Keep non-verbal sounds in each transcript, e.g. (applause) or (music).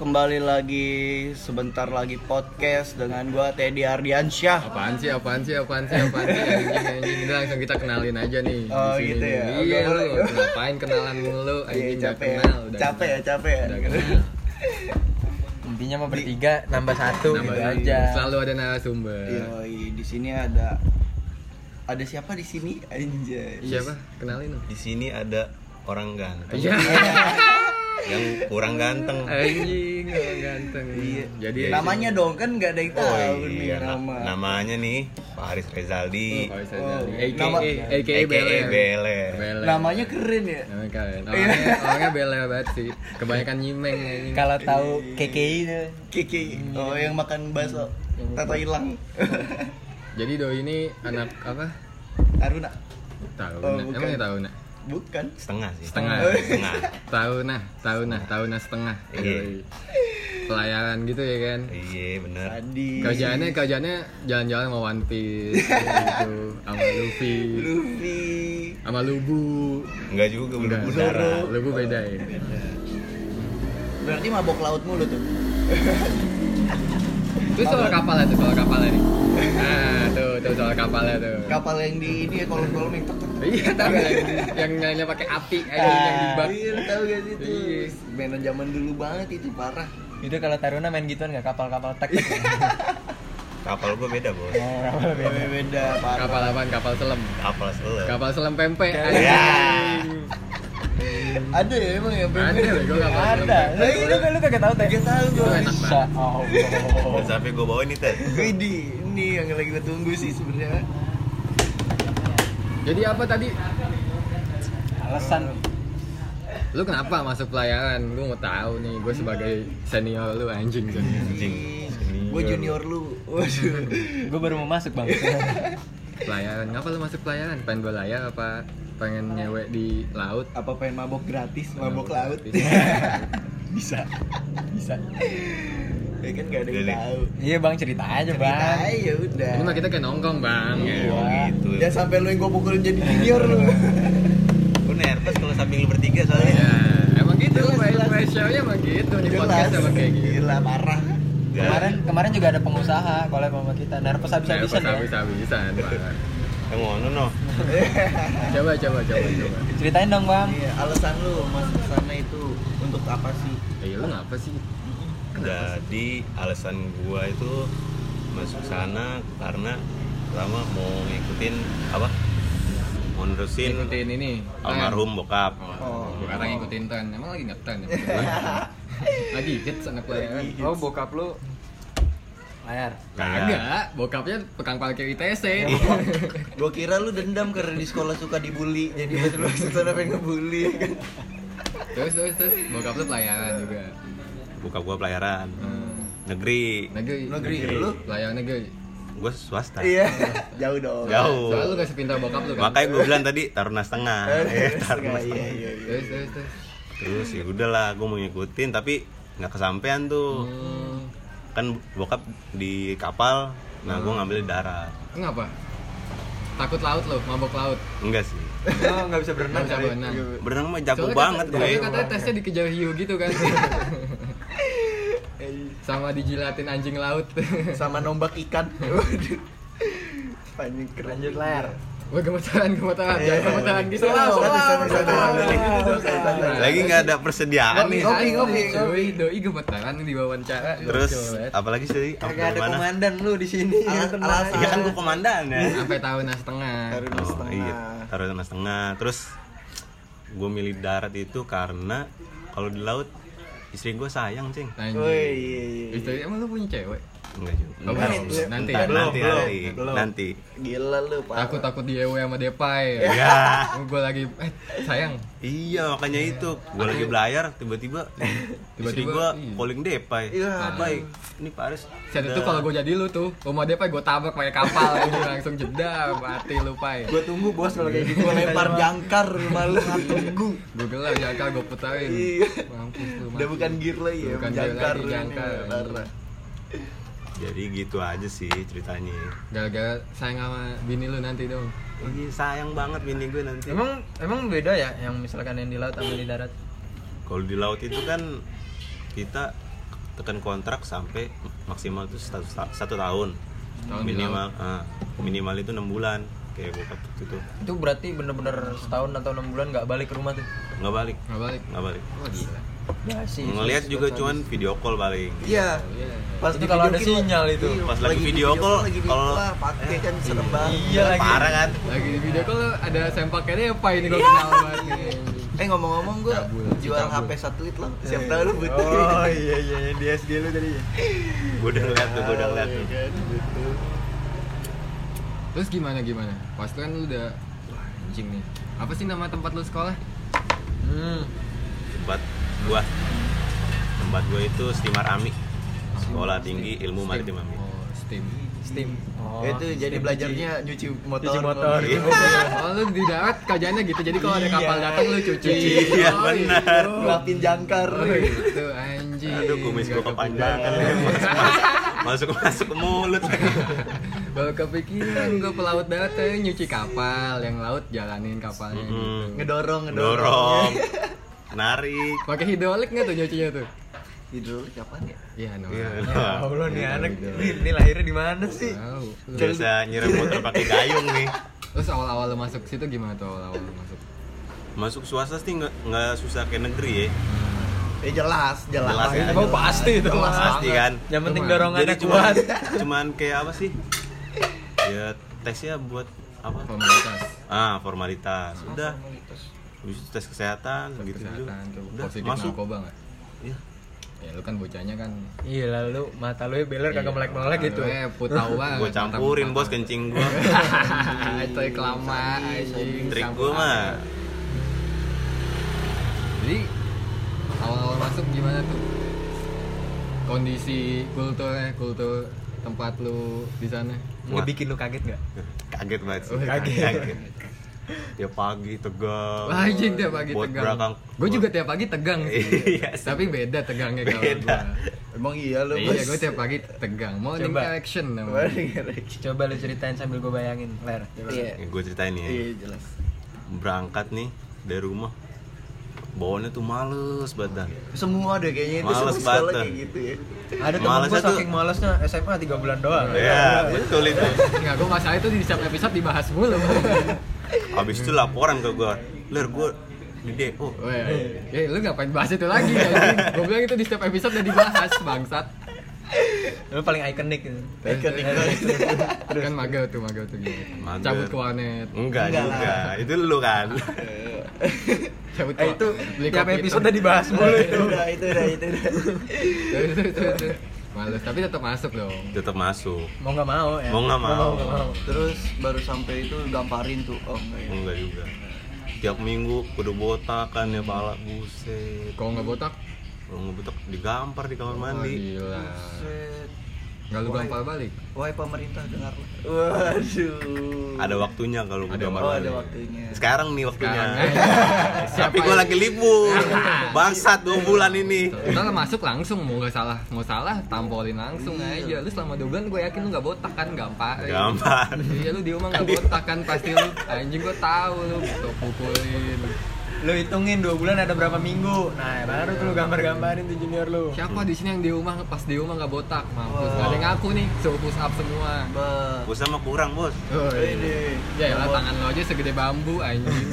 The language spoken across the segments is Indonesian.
kembali lagi sebentar lagi podcast dengan gua Teddy Ardiansyah. Apaan sih, apaan sih, apaan sih, apaan sih anjing, anjing. Ini langsung kita kenalin aja nih di Oh, sini gitu nih. ya. Iya Udah lu, boleh. ngapain kenalan lu anjing Iya udah capek, ya. kenal udah capek ya, capek ya. Udah (laughs) kenal. Intinya mau bertiga nambah satu Nambah gitu lagi. aja. Selalu ada narasumber Iya. Yoi, di sini ada ada siapa di sini? Anjay. Siapa? Kenalin dong di sini ada orang ganteng Iya Eh. yang kurang ganteng Anjing, orang ganteng Iya. Jadi eh, namanya dong kan nggak ada yang tahu oh nih iya na- nama. namanya nih Faris Rezaldi Faris Oh. Rezali. Nama- AKA AKA AKA Beler. Beler. Beler. Namanya keren ya. Namanya (laughs) keren. Orangnya, orangnya Beler banget sih. Kebanyakan nyimeng anjing. Kalau tahu KKI itu Kiki, Hmm. oh yang makan bakso, tato hilang. (laughs) Jadi Doi ini anak apa? Aruna, Tahu. Oh, Nak. bukan. Emangnya tahu nak? bukan. setengah sih Setengah. setengah Tahu nah, tahu nah, tahu nah setengah. Iya. Doi. Pelayaran gitu ya kan. iya bener Tadi. Kerjaannya kerjaannya jalan-jalan sama One Piece gitu, sama Luffy, Luffy. sama Lubu. enggak juga belum Enggak, udara Lubu beda ya. Berarti mabok laut mulu tuh. Itu soal kapalnya tuh, soal kapalnya nih. Nah, tuh, tuh soal kapalnya tuh. Kapal yang di ini ya kolom-kolom yang tek tek tek. Iya, tapi yang, yang nyalainnya pakai api aja yang di bak. Iya, lu tahu gak sih itu? Iya. Mainan zaman dulu banget itu parah. Itu kalau Taruna main gituan nggak kapal-kapal tek. kapal gua beda bos Oh, kapal beda. Beda, beda parah. Kapal apaan? Kapal selam. kapal seleb Kapal selam pempek. Ya. anjing. Ada ya emang ya Ada ya, gua kapal selam (laughs) Ada. pempek. Lah itu kan lu kagak tahu teh. Gak tahu Itu gue. enak Insya banget. Allah. Dan sampai gua ya. bawa ini teh Widi, ini yang lagi kita tunggu sih sebenarnya. Jadi apa tadi? Alasan Lu kenapa masuk pelayaran? Gua mau tahu nih. Gua sebagai senior lu anjing. Anjing, senior. Gue junior lu. Waduh. gue baru mau masuk bang. Pelayaran. Ngapa lu masuk pelayaran? Pengen berlayar apa? Pengen nyewe di laut? Apa pengen mabok gratis, mabok Mabok laut? gratis. (laughs) Bisa. Bisa. Ya kan gak ada yang Jadi, tahu. Iya bang cerita aja Cerita bang. aja, ya udah. Ini mah kita kayak nongkrong bang. Iya, gitu Jangan sampai lu yang gue pukulin jadi junior lu. gua nervous kalau samping lu bertiga soalnya Ya, emang gitu. Jelas, Main jelas. main show-nya emang gitu. Di podcast emang kayak gitu. Gila parah. Enggak. Kemarin kemarin juga ada pengusaha kalau sama kita. Nervous habis-habisan ya. Habis-habisan. Bang. yang ngono Eh, anu, no Coba, coba, coba, coba. Ceritain dong bang. Iya, alasan lu masuk ke sana itu untuk apa sih? Eh, lu ngapa sih? jadi alasan gua itu masuk sana karena pertama mau ngikutin apa mau nerusin Ngikutin ini. almarhum bokap Oh, sekarang ngikutin tren. Emang lagi ngetan (laughs) ya? lagi hits anak pelayaran. Oh bokap lu layar. Kayak- Kagak, bokapnya pegang parkir ITC. Iya. Gua kira lu dendam karena di sekolah suka dibully, jadi pas lu masuk sana pengen ngebully. kan. (laughs) terus terus terus bokap lu pelayaran juga. bokap gua pelayaran Hmm. negeri Negeri. Negeri lu? Pelayaran negeri. gua swasta Iya, jauh dong. jauh Soalnya lu gak sepintar bokap lu kan. makanya gua bilang tadi taruna setengah eh taruna Setengah, iya, setengah iya, iya. Terus terus terus. terus ya udahlah gua mau ngikutin tapi nggak kesampean tuh Hmm. kan bokap di kapal nah gua ngambil di darat Kenapa? Takut laut lu, mabok laut. enggak sih Lo nggak bisa Berenang bisa berenang. berenang mah Iya. jago Soalnya banget kata, gue soalnya katanya tesnya dikejar hiu gitu (laughs) kan. Sama dijilatin anjing laut. (laughs) Sama nombak ikan. Waduh. Panjang keren. Lanjut layar. Wah gemeteran, gemeteran, Iya, jangan gemeteran gitu Nah, lah. Salam, salam, salam, salam. salam. lagi nggak ada persediaan nih Ngopi, ngopi, Doi, doi gemeteran di wawancara. Terus Gokil banget. apalagi sih? Apa Kagak ada dari mana? komandan lu di sini. Alas- Tenang. alasan. Ya kan gua komandan ya. sampai tahun nah setengah. Taruna Oh, setengah. iya, taruh sama setengah. Terus gua milih darat itu karena kalau di laut istri gua sayang, Cing. Woi, Anjing. iya, iya, iya. Istri emang lu punya cewek? Enggak juga. Oh, Enggak, belum. belum. Nanti. Ntar, Belum, nanti, belum, nanti, belum. nanti. Gila lu, parah. Takut takut diewe E sama Depay. Iya. Ya. Gue lagi eh sayang. Iya, makanya itu. Gua lagi belayar (laughs) tiba-tiba istri Tiba-tiba, gua iya. calling Depay. Iya, baik. Ini Paris. Nah, Saat itu udah- kalau gue jadi lu tuh, rumah Depay gue tabrak pakai kapal ini langsung jeda mati lu pai. Gua tunggu bos kalau kayak gitu. Gua lempar jangkar malu tunggu. Gue gelar jangkar gue putarin. Iya. Mampus lu. Udah mati. bukan gear lagi ya, Bukan gear jangkar. lagi, ini, jangkar. parah. Jadi gitu aja sih ceritanya. Gara-gara sayang sama bini lu nanti dong. Ini sayang banget bini gue nanti. Emang emang beda ya yang misalkan yang di laut sama di darat. Kalau di laut itu kan kita tekan kontrak sampai maksimal itu satu, satu tahun Setahun di minimal ah, minimal itu enam bulan kayak bokap itu Itu berarti bener-bener setahun atau enam bulan nggak balik ke rumah tuh. nggak balik nggak balik nggak balik wah gila Ya sih. ngelihat juga cuman video call paling Iya. Iya. Pas di Jadi video kalau ada call- sinyal itu. Iya, Pas lagi video call, lagi video kalau- call lah, pakai kan serem banget. Iya lagi. parah kan lagi di video call ada sempakannya apa ini gue kenal banget nih Eh ngomong-ngong gue Cabul, jual HP cabul. satelit lah. Siapa tahu lu butuh. Oh iya iya yang di SG lu tadi ya. gue udah ngeliat tuh gue udah ngeliat tuh Iya kan, gitu. terus gimana gimana pas itu kan lu udah wah anjing nih apa sih nama tempat lu sekolah Hmm. tempat gua tempat gua itu Stimar Ami sekolah tinggi ilmu maritim Ami oh steam Steam. Oh, itu jadi Steam belajarnya nyuci motor. Cuci motor. Iya. Iya. Oh lu di darat kajiannya gitu, jadi kalau ada kapal Iya. datang lu cuci Iya, Oh, benar. gitu. Ngelapin jangkar. Oh, gitu anjing aduh kumis gua Gak kepanjangan kepikiran. masuk masuk ke mulut Baru kepikiran gua pelaut darat eh, nyuci kapal Yang laut jalanin kapalnya Mm-mm. gitu Ngedorong, ngedorong. dorong narik Pakai hidrolik nggak tuh nyucinya tuh? Hidrolik kapan ya? Iya, no Iya, Nggak Ya Allah nih anak, Wih, ini lahirnya di mana sih? tahu. Lu- biasa nyiram motor pakai gayung nih Terus awal-awal lu masuk situ gimana tuh awal-awal lu masuk? masuk swasta sih nggak nggak susah kayak negeri ya Eh jelas, jelas. Jelas kan? Oh pasti itu Jelas pasti kan Yang penting Cuman, dorongannya cuman kuat. (laughs) cuman kayak apa sih ya tesnya buat apa Formalitas ah formalitas udah habis itu tes kesehatan tes gitu gitu kesehatan tuh udah positif masuk narkoba nggak? Iya. Ya lu kan bocahnya kan Iya lalu mata lu ya beler kagak Iya, melek-melek gitu. Eh, (laughs) putau banget. gue campurin bos kencing (laughs) gue Itu kelamaan anjing. trik campur gue mah tangan. Jadi awal-awal masuk gimana tuh? Kondisi kulturnya, kultur tempat lu di sana. Ngebikin lu kaget nggak? kaget banget sih Oh, kaget. (laughs) tiap pagi tegang Wah, iya. anjing tiap pagi Oh, Buat belakang. tegang. Gue juga tiap pagi tegang sih. (laughs) Iya sih. Tapi beda tegangnya kalau Beda. gua. Emang iya lu, Iya, gue tiap pagi tegang. Morning Coba. action namanya. Iya, Coba lu ceritain sambil gue bayangin, Ler. Coba. gue ceritain ya iya jelas. berangkat nih dari rumah bawaannya tuh males banget dah. Iya. Semua deh kayaknya itu Males semua sekolah banget. kayak gitu ya. Ada temen Malesnya gue tuh- saking malesnya SMA 3 bulan doang. ya betul itu Enggak, gue masalah itu di setiap episode dibahas (laughs) mulu. habis itu laporan ke gue ler Oh, gue di DO Weh, eh, lu ngapain bahas itu lagi? gue bilang itu di setiap episode udah dibahas, bangsat. Lu paling ikonik gitu. Ikonik Eh, banget. terus, terus. kan magel tuh, magel tuh gitu. Mager. Cabut ke warnet. enggak Enggak juga (laughs) itu lu kan Cabut ke Eh itu warnet. Beli tiap kopi episode hitam. udah dibahas mulu Itu itu. udah, itu udah, itu udah. (laughs) Terus, terus, terus, terus. Males, tapi tetap masuk dong. tetap masuk Mau nggak mau ya. Mau nggak mau. nggak mau. Terus baru sampai itu gamparin tuh. Oh, enggak ya. enggak juga tiap minggu kudu botak kan ya pala buset Kalau nggak botak, kalau ngebutak digampar di kamar wah, mandi gila. Set. Nggak lu Wah. gampar balik. Wahai pemerintah dengarlah. Waduh. ada waktunya kalau Ada gambar Oh, mandi. ada waktunya. sekarang nih waktunya Sekarang aja. (laughs) tapi gue lagi libur bangsat dua bulan ini Kita masuk langsung mau nggak salah, mau salah tampolin langsung aja. Lu selama dua bulan gue yakin lu nggak botak kan gampar. Gampar. Iya lu di rumah nggak botak kan pasti lu anjing gue tahu lu gitu pukulin. Lu hitungin 2 bulan ada berapa minggu. Nah, baru tuh lu gambar-gambarin tuh junior lu. Siapa di sini yang di rumah pas di rumah nggak botak Wah. mampus. Gak ada yang ngaku nih, suruh push up semua. (laughs) Ba- gue sama kurang bos Woi. Ini. Ya lah tangan lo aja segede bambu anjing.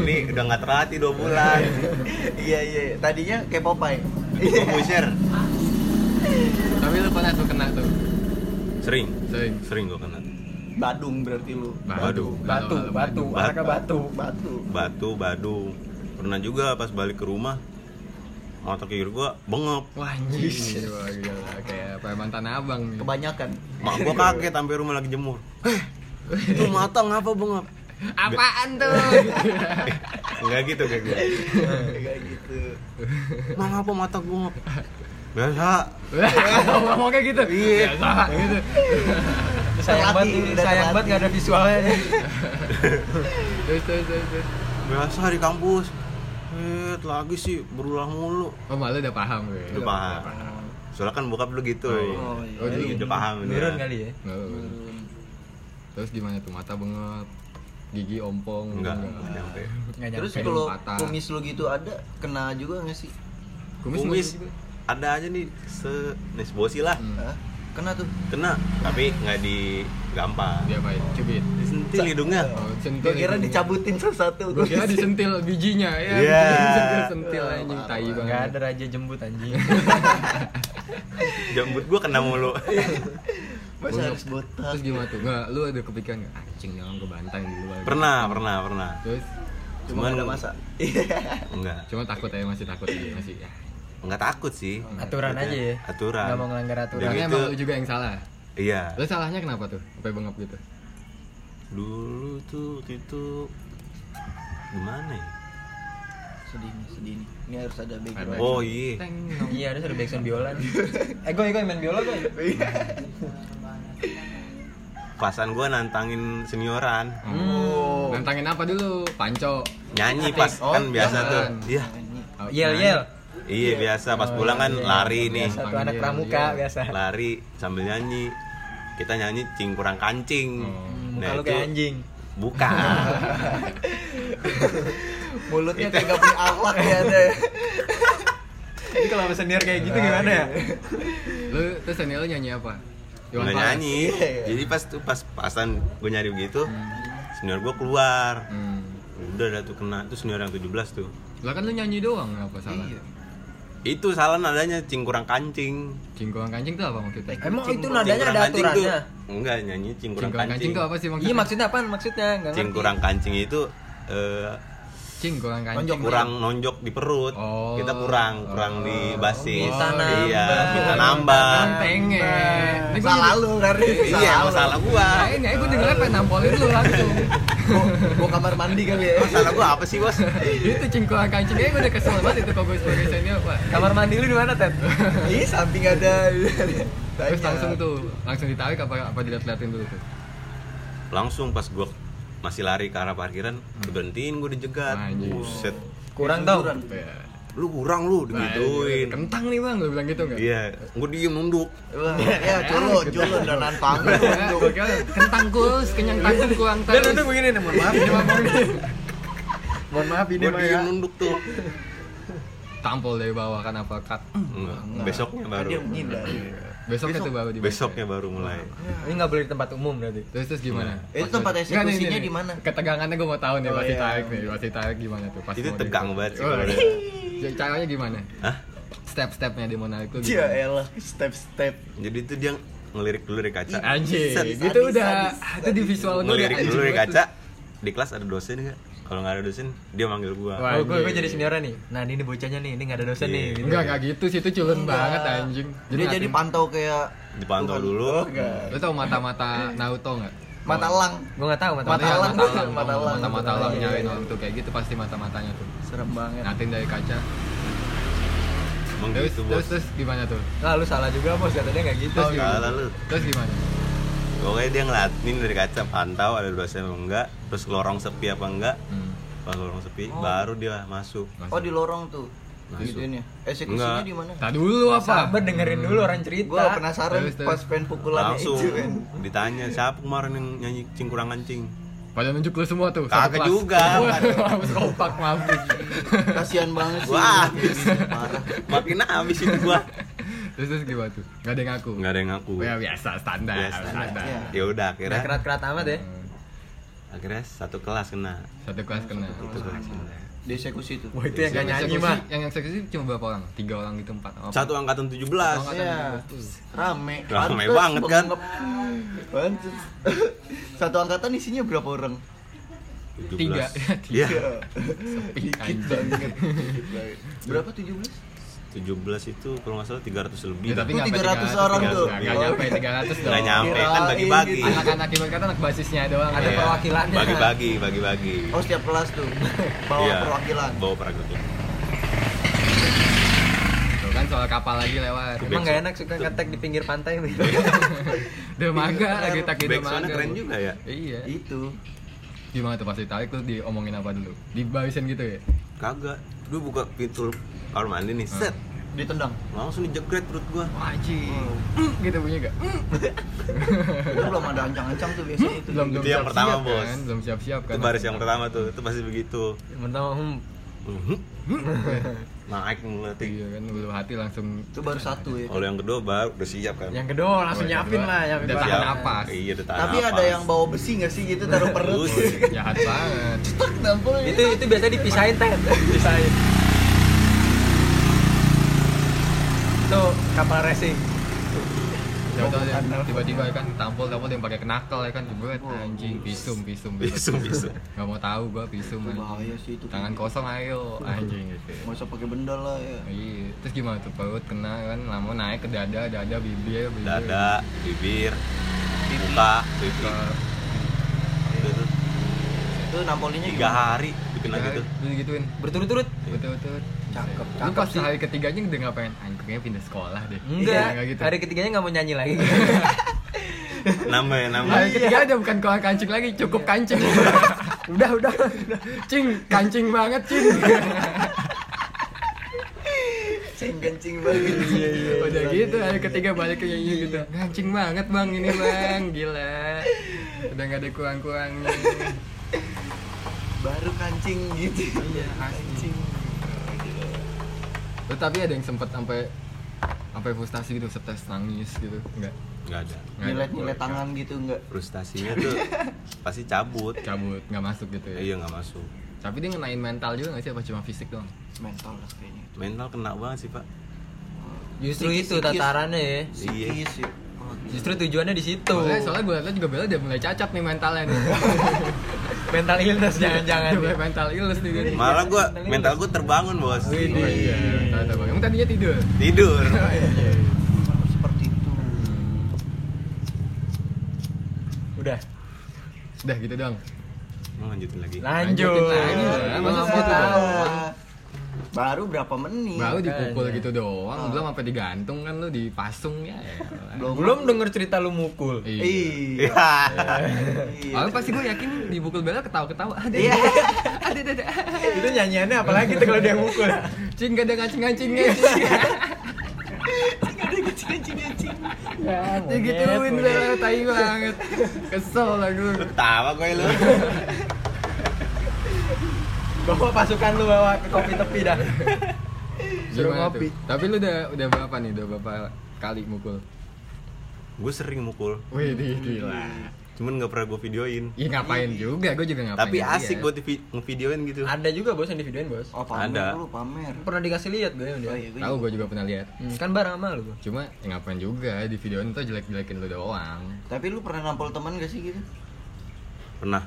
ini udah nggak terhati dua bulan Iya, iya. Tadinya kayak Popeye. gue pusher Tapi lu pernah tuh kena tuh. sering Sering. sering gue kena Badung berarti lu. Badu. Batu, batu, Batu. anaknya batu. Batu. batu badu pernah juga pas balik ke rumah motor kiri gue bengep Wah anjing. Wah gila kayak preman tanah abang nih. Kebanyakan. mak gue kaget sampai rumah lagi jemur "Heh, itu matang apa bengep Apaan tuh? (laughs) Enggak gitu kayak gue Kayak gitu. Mang apa mata gue Biasa (laughs) Ngomong kayak gitu. Iya. gitu. Sayang Terlatih, banget, udah sayang terlatih. banget kan? nggak ada visualnya. Terus terus terus. terus. Biasa di kampus Eh, lagi sih berulang mulu Oh malu udah paham gue. Udah paham Soalnya kan bokap lu gitu Oh, iya. Iya, Oh, Jadi iya. udah paham dia. Nurun kali ya. Malu. Terus gimana tuh mata bengep, gigi ompong. gitu Enggak, enggak nyampe Nggak Terus nyampe. kalau patah. kumis lu gitu ada kena juga nggak sih? Kumis, Kumis lu- ada aja nih se nesbosi lah Hmm. Hah? Kena tuh. kena tapi nggak di gampang diapain cubit disentil hidungnya oh, sentil Gua kira hidungnya. dicabutin satu-satu. Gua kira disentil bijinya ya Iya. sentil anjing tai Gak banget ada raja jembut anjing. jambut gua kena mulu Masa Bonyok. harus botak. terus gimana tuh nggak lu ada kepikiran nggak anjing jangan ke Bantai dulu aja. pernah pernah pernah terus Cuma Cuman- ada masa. (laughs) Iya. enggak cuma takut ya masih takut aja masih ya. enggak takut sih Aturan aja ya. aturan Gak mau ngelanggar aturan. Jadi Karena itu- emang lu juga yang salah iya lu salahnya kenapa tuh sampai bengap gitu dulu tuh waktu itu gimana ya sedih nih, sedih nih. Ini harus ada background. oh iya Teng. Iya, harus ada backsound biola. (laughs) nih. eh, gue gue main biola gue. kelasan gua nantangin senioran Oh. Nantangin apa dulu? Panco. nyanyi pas Oh, kan biasa jangan. tuh iya Yel yel. iya biasa Oh, pas pulang kan lari nih Satu Panggil anak yel, pramuka yel. iya, biasa. lari sambil nyanyi kita nyanyi cing kurang kancing Oh. Hmm. nah, Muka lu kayak anjing. bukan (laughs) Mulutnya kayak gak punya awak (laughs) ya ada. Ini kalau sama senior kayak gitu gimana ya? Lu terus senior lu nyanyi apa? Iwan nggak Fals. nyanyi Iya, iya. jadi pas tuh pas pasan gue nyari begitu senior gue keluar Hmm. udah dah tuh kena itu senior yang 17 tuh Lah kan lu nyanyi doang apa salah? Iya. itu salah nadanya cing kurang kancing Cingkuang kancing tuh apa maksudnya? Emang itu Cing nadanya Eh, kurang ada kancing tuh- aturannya. enggak nyanyi cing kurang Cingkuang kancing kancing tuh apa sih maksudnya? Iya maksudnya apaan maksudnya? Gak cing kurang kancing itu eh, Cingkuang kancing. kurang nonjok di perut Oh. kita kurang kurang di basing Minta iya nambah. minta nambah Tenge. Ini gua Salah lu Kardi. iya Salah lu. masalah gua Nah, ini aku dengernya pengen nampolin lu (laughs) langsung. Gua, gua kamar mandi kali ya. masalah gua apa sih bos itu cingkuang kancing aja gua udah kesel banget itu kok gue sebagai senior, Pak. Kamar mandi lu di mana, Ted? Ih, samping ada. Terus Tanya. langsung tuh, langsung ditarik apa apa dilihat-liatin dulu tuh. langsung pas gua masih lari ke arah parkiran Hmm. diberhentiin gua dijegat Anjing. buset Kurang tau. Ya. lu kurang lu Nah, iya, Gituin. digituin Kentang nih bang, lu bilang gitu nggak? iya gua diem nunduk Wah, ya culun, culun dan panggung. Iya, Gua kira, Kentang kus, kenyang tanggung kuang Dan terus. untuk begini nih, mohon maaf ini mah. Mohon maaf ini gua mah ya. diem nunduk tuh Tampol dari bawah kan apa cut. Iya. Enggak, Nah, besoknya baru Dia menghindar. Besoknya tuh baru di besoknya baru mulai Nah. Ini nggak boleh di tempat umum berarti. Terus terus gimana? Itu Pas- tempat Nggak, nih, eksekusinya nih, nih. di mana? Ketegangannya gua mau tahu nih Oh, pasti iya. tarik nih, pasti tarik gimana tuh pas Itu mau tegang banget sih, Oh, kalau iya. Jadi Caranya gimana? Hah? Step-stepnya dia mau narik tuh Ya gimana? elah, step-step. jadi itu dia ngelirik dulu dari Iya, kaca Anjir, Sadis, itu sadis, udah sadis, itu di visual gua udah gitu. ngelirik anjing dulu dari banget kaca di kelas ada dosen nggak kalau nggak ada dosen dia manggil gua Wah, Oh, gue gue anjing. jadi seniornya nih. Nah, ini nih bocahnya nih, ini nggak ada dosen Iya. nih. tuh. Gitu. Enggak, enggak gitu sih, itu culun banget anjing Jadi dia jadi ngatain- pantau kayak dipantau Tuhan. dulu Oh, enggak. Lu tau mata-mata Naruto nggak? Mata elang. Gue nggak tahu mata Mata Iya, elang. mata elang, Mata elang. mata-mata elang Iya, nyariin iya. orang tuh kayak gitu pasti mata-matanya tuh. Serem banget. Ngatin dari kaca. emang Terus gitu terus bos terus gimana tuh? Nah, lu salah juga bos katanya nggak gitu. Terus nggak gimana? salah lu. Terus gimana? pokoknya dia ngeliatin dari kaca pantau ada dosen apa enggak terus ke lorong sepi apa enggak Hmm, pas lorong sepi baru dia masuk Oh di lorong tuh. Masuk. Videonya. Eksekusinya Enggak. di mana? Tak dulu apa? Sabar dengerin dulu orang cerita. Gua penasaran Terus, terus. pas pengen pukulan kan. langsung eh, ditanya siapa kemarin yang nyanyi cing kurang kancing Pada nunjuk lu semua tuh. satu Kagak kelas. (laughs) juga. Wah, Habis kompak mampus. Kasihan banget sih. Wah, habis. Parah. makin habis itu gua Terus terus gimana tuh? Gak ada yang ngaku. nggak ada yang ngaku Ya biasa standar. Biasa. standar. Iya. ya udah Nggak akhirnya kerat-kerat amat ya. akhirnya satu kelas kena Satu kelas kena. Satu kelas kena. Di eksekusi tuh. Wah, itu yang nggak nyanyi eksekusi- mah. Yang eksekusi cuma berapa orang? Tiga orang gitu empat. orang. satu angkatan 17 belas Iya. Rame. Rame Pantes, banget kan? bengep. Pantes. Satu angkatan isinya berapa orang? Tiga. ya Dikit banget. Dikit banget. Berapa 17? 17 itu kalau nggak salah 300 lebih Ya, Itu tapi nggak 300 sampai 300 orang dong. tuh. Nggak nyampe 300 dong. nggak nyampe Iya. kan Kirain bagi-bagi gitu. Anak-anak ibarat kata anak basisnya doang. Ada ya. perwakilannya. bagi-bagi bagi-bagi Oh setiap kelas tuh. Bawa Iya, perwakilan. bawa perwakilan Tuh kan soal kapal lagi lewat. Emang nggak enak suka ngetek di pinggir pantai (laughs) nih. Dermaga lagi tak di dermaga. backsoundnya keren juga ya gitu, Iya. Itu. Gimana tuh pas ditarik tuh diomongin apa dulu? Dibarisin gitu ya? kagak gue buka pintu kamar mandi nih set Ditendang. langsung dijegret perut gua Wajib. (laughs) gitu punya gak? Itu belum ada ancang-ancang tuh biasanya itu. Itu yang siap-siap pertama, Bos. Belum siap-siap kan? itu baris yang pertama tuh itu pasti begitu Pertama hmm, Mhm. naik mulut Iya kan belum hati langsung itu baru satu ya kalau yang kedua baru udah siap kan Yang kedua langsung Oh, Iya. yang nyiapin kedua. lah, nyiapin Dan bahan. tahan napas. iya udah tahan tapi ada napas. yang bawa besi nggak sih gitu taruh perut Terus. jahat banget. tak nampol itu itu biasanya dipisahin teh Pisahin. Tuh kapal racing. Ya, Jauh ada yang tiba-tiba kan tampol-tampol yang pakai kenakal ya kan jebret Oh, anjing pisum pisum (laughs) Pisum, pisum. Gak mau tahu gua pisum iya. Itu bahaya anjing. sih itu. Tangan kosong ayo anjing gitu. masa pakai benda lah ya Iya, terus gimana tuh perut kena kan lama naik ke dada, dada bibir, bibir. dada bibir muka pipi itu tuh itu nampolinya tiga gimana? hari Tiga dikenal hari, gitu Nah, Terus gituin. berturut-turut Betul-betul. Iya. Cakep, Lu cakep pas sih. hari ketiganya udah ngapain? Anjing kayaknya pindah sekolah deh. Iya, enggak nggak gitu. hari ketiganya nggak mau nyanyi (laughs) lagi nama ya nama Hari ketiga ada bukan kolam kancing lagi, cukup kancing. (laughs) udah, udah, udah. Cing, kancing banget, cing. cing kencing banget iya iya udah gitu, hari ketiga balik ke nyanyi gitu. Kancing banget, Bang, ini, Bang. Gila. Udah gak ada kurang-kurangnya. baru kancing gitu iya kancing Lu tapi ada yang sempet sampai sampai frustasi gitu, sempet nangis gitu. Enggak. nggak ada Nggak ada. nyilet nyilet tangan gitu enggak frustasinya tuh pasti cabut cabut nggak masuk gitu ya iya nggak masuk tapi dia ngenain mental juga nggak sih apa cuma fisik doang mental lah kayaknya mental kena banget sih pak justru Sikis, itu sikis. tatarannya ya Iya. psikis ya Oh, gitu. justru tujuannya di situ soalnya, soalnya gue liat juga Bella udah mulai cacat nih mentalnya nih mental illness jangan-jangan (laughs) Udah mulai mental illness nih dia nih. malah gua mental gua terbangun bos Oh, iya Tahu, tahu, Bang. emang tadinya tidur tidur Malah seperti itu Udah. udah gitu dong mau lanjutin lagi Nah. Lanjut. lagi lah. Iya, Masa iya. segitu doang? baru berapa menit baru dipukul gitu doang belum apa digantung kan lu dipasung ya elah. Belum denger cerita lu mukul. iya iya Iya. Iya. Awalnya pasti gue yakin dipukul Bella ketawa-ketawa ada Iya. ada ada ada Itu nyanyiannya apalagi tuh kalau dia (laughs) mukul. cing gak ada ngancing-ngancingnya cing. gitu, Iya. Digituin lah, tai banget Kesel lah gue ketawa gue lu Bawa pasukan lu bawa ke kopi tepi (laughs) dah. Suruh Gimana ngopi. tuh? Tapi lu udah, udah berapa nih? Udah berapa kali mukul? gue sering mukul Wih, di- gila cuman nggak pernah gue videoin Ya ngapain juga, gue juga ngapain tapi juga asik ya. buat di- ngevideoin gitu ada juga bos yang divideoin bos oh pamer Ada. lu pamer pernah dikasih lihat gue yang dia Oh, iya, gue Tahu gue juga pernah lihat Hmm, kan bareng sama lu Cuma ya ngapain juga, di video itu jelek-jelekin lu doang Tapi lu pernah nampol teman gak sih gitu? pernah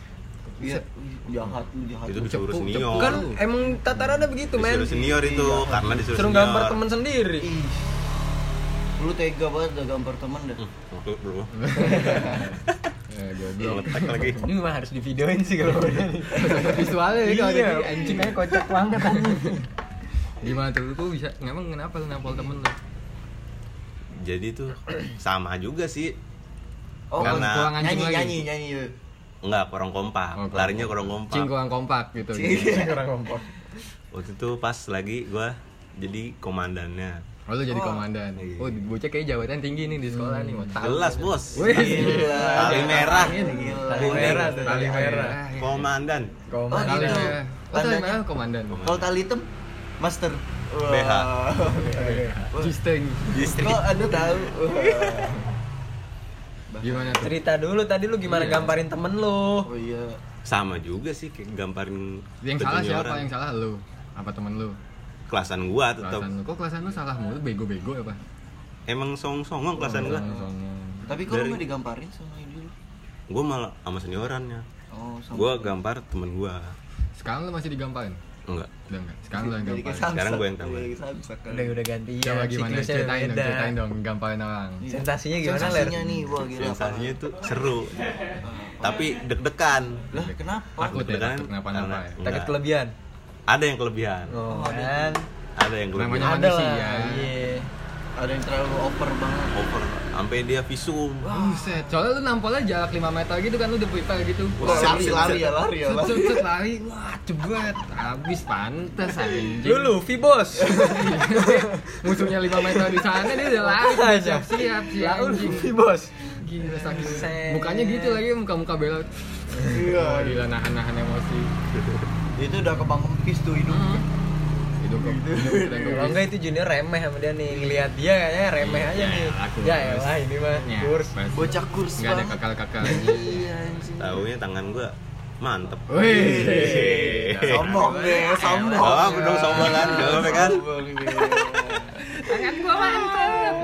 Iya, jahat lu jahat. Gitu. itu lu. disuruh cepuk, senior kan emang tatarannya begitu men disuruh senior itu karena disuruh suruh senior. gambar temen sendiri Ih, Lu tega banget udah gambar teman dah. Hmm, waktu itu bro Eh, goblok (laughs) letek lagi Ini mah harus divideoin sih Iya. kalau udah nih. Visualnya ya kalau Iya, ada di- anjing anjingnya kocak banget anjing. Gimana tuh, lu bisa, emang kenapa lu nampol temen lu? jadi tuh sama juga sih Oh, Kurang- Karena- kurang anjing nyanyi, lagi. nyanyi nyanyi yuk. nggak kurang kompak Oh, kurang larinya kurang kompak Cing kurang kompak gitu, gitu. Iya. Cing. Kurang kompor. Ah, waktu itu pas lagi gue jadi komandannya Oh lu jadi Oh. komandan Iya. Oh bocah kayak jabatan tinggi nih di sekolah nih mau tahu. jelas bos Wih, Gila. tali merah Gila. Tali merah, tuh, tali merah. komandan Oh, Komandan. Tali gitu. merah. Oh, tali Tandanya. merah komandan. Kalau tali hitam, master. Wah. BH. Jisteng. distrik Kok ada tahu? Wah. Gimana tuh? cerita dulu tadi lu gimana Iya. gambarin temen lu Oh iya. sama juga sih kayak gambarin Yang salah petunjuk siapa? orang. Yang salah lu. Apa temen lu? kelasan gua tetap Kelasan lu. Kok kelasan lu salah mulu? Bego-bego ya, apa? emang song-songong Oh, kelasan gua Tapi kalau Dari- nggak digamparin sama ini lu. gua malah sama seniorannya Oh, sama. gua gampar temen gua Sekarang lu masih digamparin? enggak Udah enggak. Sekarang lu yang Jadi kayak gamparin. Sekarang samsak, gua yang tahu. jadi kayak samsak kan. udah udah ganti Coba gimana? Ceritain dong, ceritain dong gamparin orang. sensasinya gimana ler Iya. Sensasinya nih, wah gila. sensasinya itu seru tapi deg-degan parah. Lah, kenapa? Takut ya, Deg-degan takut kenapa-napa karena- ya. takut enggak. kelebihan ada yang kelebihan oh, kan ada yang kelebihan Namanya ada lah manusia. iya eh, Ada yang terlalu over banget. over sampai dia visum Buset, soalnya lu nampolnya jarak 5 meter gitu kan lu udah prepare gitu. Wah, lari, lari ya, lari ya. Set, lari. set, set, lari, wah jebret, habis pantes anjing. lu Luffy (laughs) bos Iya. Musuhnya 5 meter di sana dia udah lari Aja. siap siap si lu anjing. Luffy bos Gila saking Set. mukanya gitu lagi muka-muka belok. Iya. Wah, gila nahan-nahan emosi. itu udah kebang kempis tuh hidup hidup ke hidup kita Kalau ke- enggak itu junior remeh sama dia nih Ngeliat dia kayaknya remeh aja Ya, nih aku Ya harus. elah ini mah Ya, Kurs pasti. bocah kurs nggak ada banget. kakak-kakak iya anjing Taunya tangan gua mantep. Wih, sombong deh sombong Oh, aku dong sombong kan, gak apa-apa kan? Sombong deh.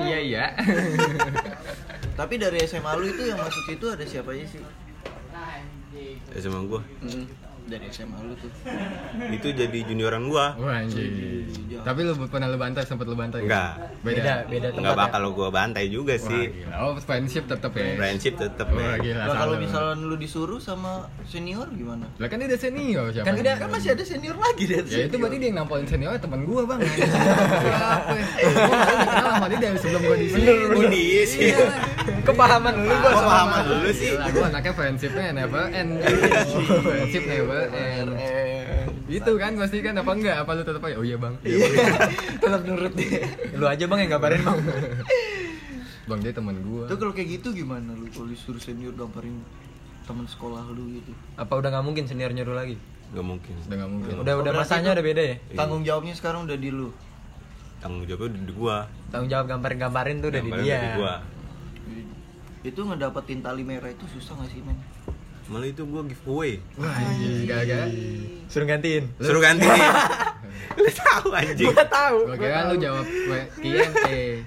iya iya tapi dari SMA lu itu yang masuk situ ada siapa aja sih Ya sama gua. dari SMA lu tuh Itu jadi junioran gua. Wah, anjing. Tapi lu pernah lu bantai sempat lu bantai? Enggak. Beda. Beda Enggak tempat bakal gua bantai juga ya? Wah, sih. gila. Oh, friendship tetap ya. Friendship tetap Wah, men. gila. Lah, kalau salah. misalnya lu disuruh sama senior gimana Lah kan dia udah senior Kan siapa? yang udah- mau? kan masih ada senior lagi deh Ya itu berarti dia yang nampolin seniornya teman gua, (laughs) Bang. Siapa? Gua udah kenal sama dia dari sebelum gua di sini. Oh, dia sih. Kepahaman lu gua sama Paham dulu sih. Gila, gua anaknya friendshipnya never end. Friendship never end. Itu kan pasti kan apa enggak? Apa lu tetap aja? Oh iya, Bang. Iya, Bang. (laughs) Tetap nurut dia Lu aja bang yang gambarin bang Bang dia teman gua. itu kalau kayak gitu gimana lu kalau disuruh senior gambarin teman sekolah lu gitu Apa udah gak mungkin senior nyuruh lagi? Gak mungkin. Udah enggak mungkin. Udah udah berarti masanya itu- udah beda ya? Iya. tanggung jawabnya sekarang udah di lu Tanggung jawabnya udah di gua. Tanggung jawab gambarin-gambarin tuh udah di Gambarnya dia udah di gua. itu ngedapetin tali merah itu susah gak sih men Malah itu gua giveaway. Wah, iya, anjing. Gagal. Suruh gantiin Suruh ganti. Lu tahu anjing. Gua tahu. Gua kira lu jawab KNT. iya kan eh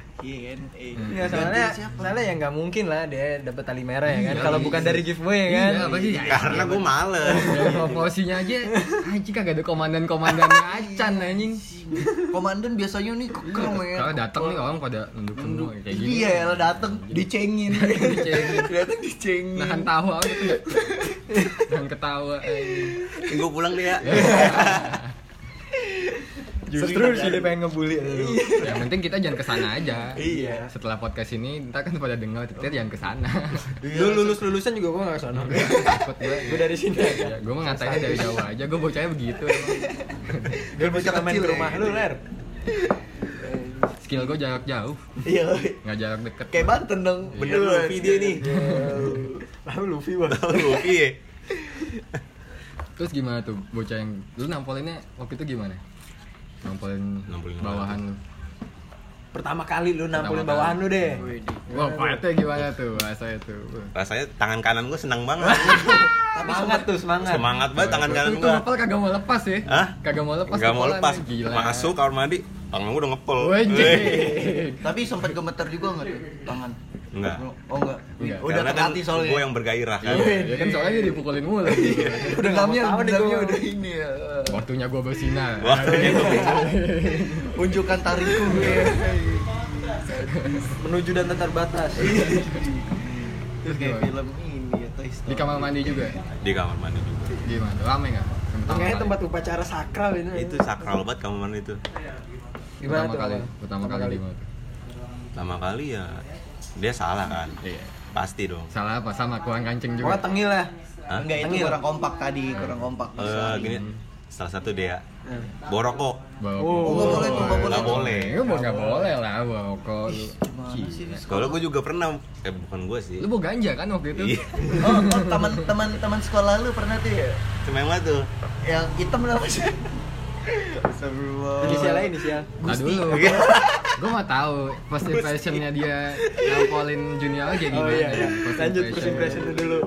Hmm. Ya, soalnya, soalnya ya nggak mungkin lah dia dapat tali merah ya kan. Kalau bukan dari giveaway ya kan. Iya, apa sih? Karena gua males. Dari proporsinya aja anjing kagak ada komandan-komandannya acan anjing. komandan biasanya nih keker men Kalau datang nih orang pada nunduk semua kayak gini. iya lah dateng (laughs) dicengin Dicengin. dateng dicengin Nah, Nahan tawa aja tuh nggak? Nahan ketawa anjing. Gua pulang deh ya. Terus jadi pengen ngebully lu. Yang penting kita jangan kesana aja. Iya. Setelah podcast ini ntar kan pada dengar kita jangan kesana. Lu lulus lulusan juga gua nggak kesana. Takut Iya. gue. Gua dari sini Iya. aja. gue mau ngatain dari jauh aja, gue bocahnya begitu emang. Gua bisa main kecil, ke rumah ya. lu ler. Skill gue jarak jauh, iya nggak jarak deket kayak Banten dong Iya. Bener lu Iya, video nih. Lalu Luffy bang. Tahu lu iya. Terus gimana tuh bocah yang lu nampolinnya waktu itu gimana? Nampolin, Nampolin bawahan lu. Pertama kali lu nampulin Pertama bawahan kali. lu deh. Wah, pahitnya gimana tuh bahasanya tuh? Rasanya tangan kanan gua senang banget. Semangat tuh semangat. Semangat banget tangan kanan Itu gua. ngepel kagak mau lepas ya? Hah? Kagak mau lepas. Gak mau ngepelan, lepas. Gila. Masuk kamar mandi, tangan gua udah ngepel. Wajib. tapi sempat gemeter juga nggak tuh tangan Enggak. oh enggak Enggak. udah Karena terlatih kan soalnya Gua yang bergairah kan. Ya kan soalnya dia dipukulin mulu. Udah nggak Dendamnya- mau tahu deh dendamnya gua. udah ini ya. Waktunya gua bersinar. Wah, gitu. Unjukkan tariku gue. Menuju dan tetap batas. Itu kayak film ini ya Toy Story. Di kamar mandi juga. (laughs) Di kamar mandi juga. Gimana? Rame nggak? Pertama Makanya kali. tempat upacara sakral itu. Itu sakral banget kamar mandi itu. Gimana pertama tuh? kali, Bang? pertama kali gimana tuh? Pertama kali ya dia salah kan. Iya. Pasti dong. Salah apa sama kurang kancing Pokoknya juga. tengil lah. Hah? Enggak Ya, itu Tengil. kurang kompak tadi, kurang kompak. Eh, gini, salah satu dia Hmm. borokok. Bawa Oh, oh, nggak boleh tuh, nggak boleh. Nggak boleh. Lu mau nggak boleh lah bawa rokok lu. Gimana sih? Wis? Sekolah gua juga pernah, eh bukan gua sih. Lu bawa ganja kan waktu itu? (laughs) Iya. Oh, oh, teman-teman teman sekolah lu pernah tuh ya? Cuma yang mana tuh? Yang hitam lah sih? Astagfirullah. Inisial lain inisial. Nah dulu, gue mau tahu first impressionnya dia nampolin junior kayak gimana. ya, first Lanjut Iya, first impression lu dulu.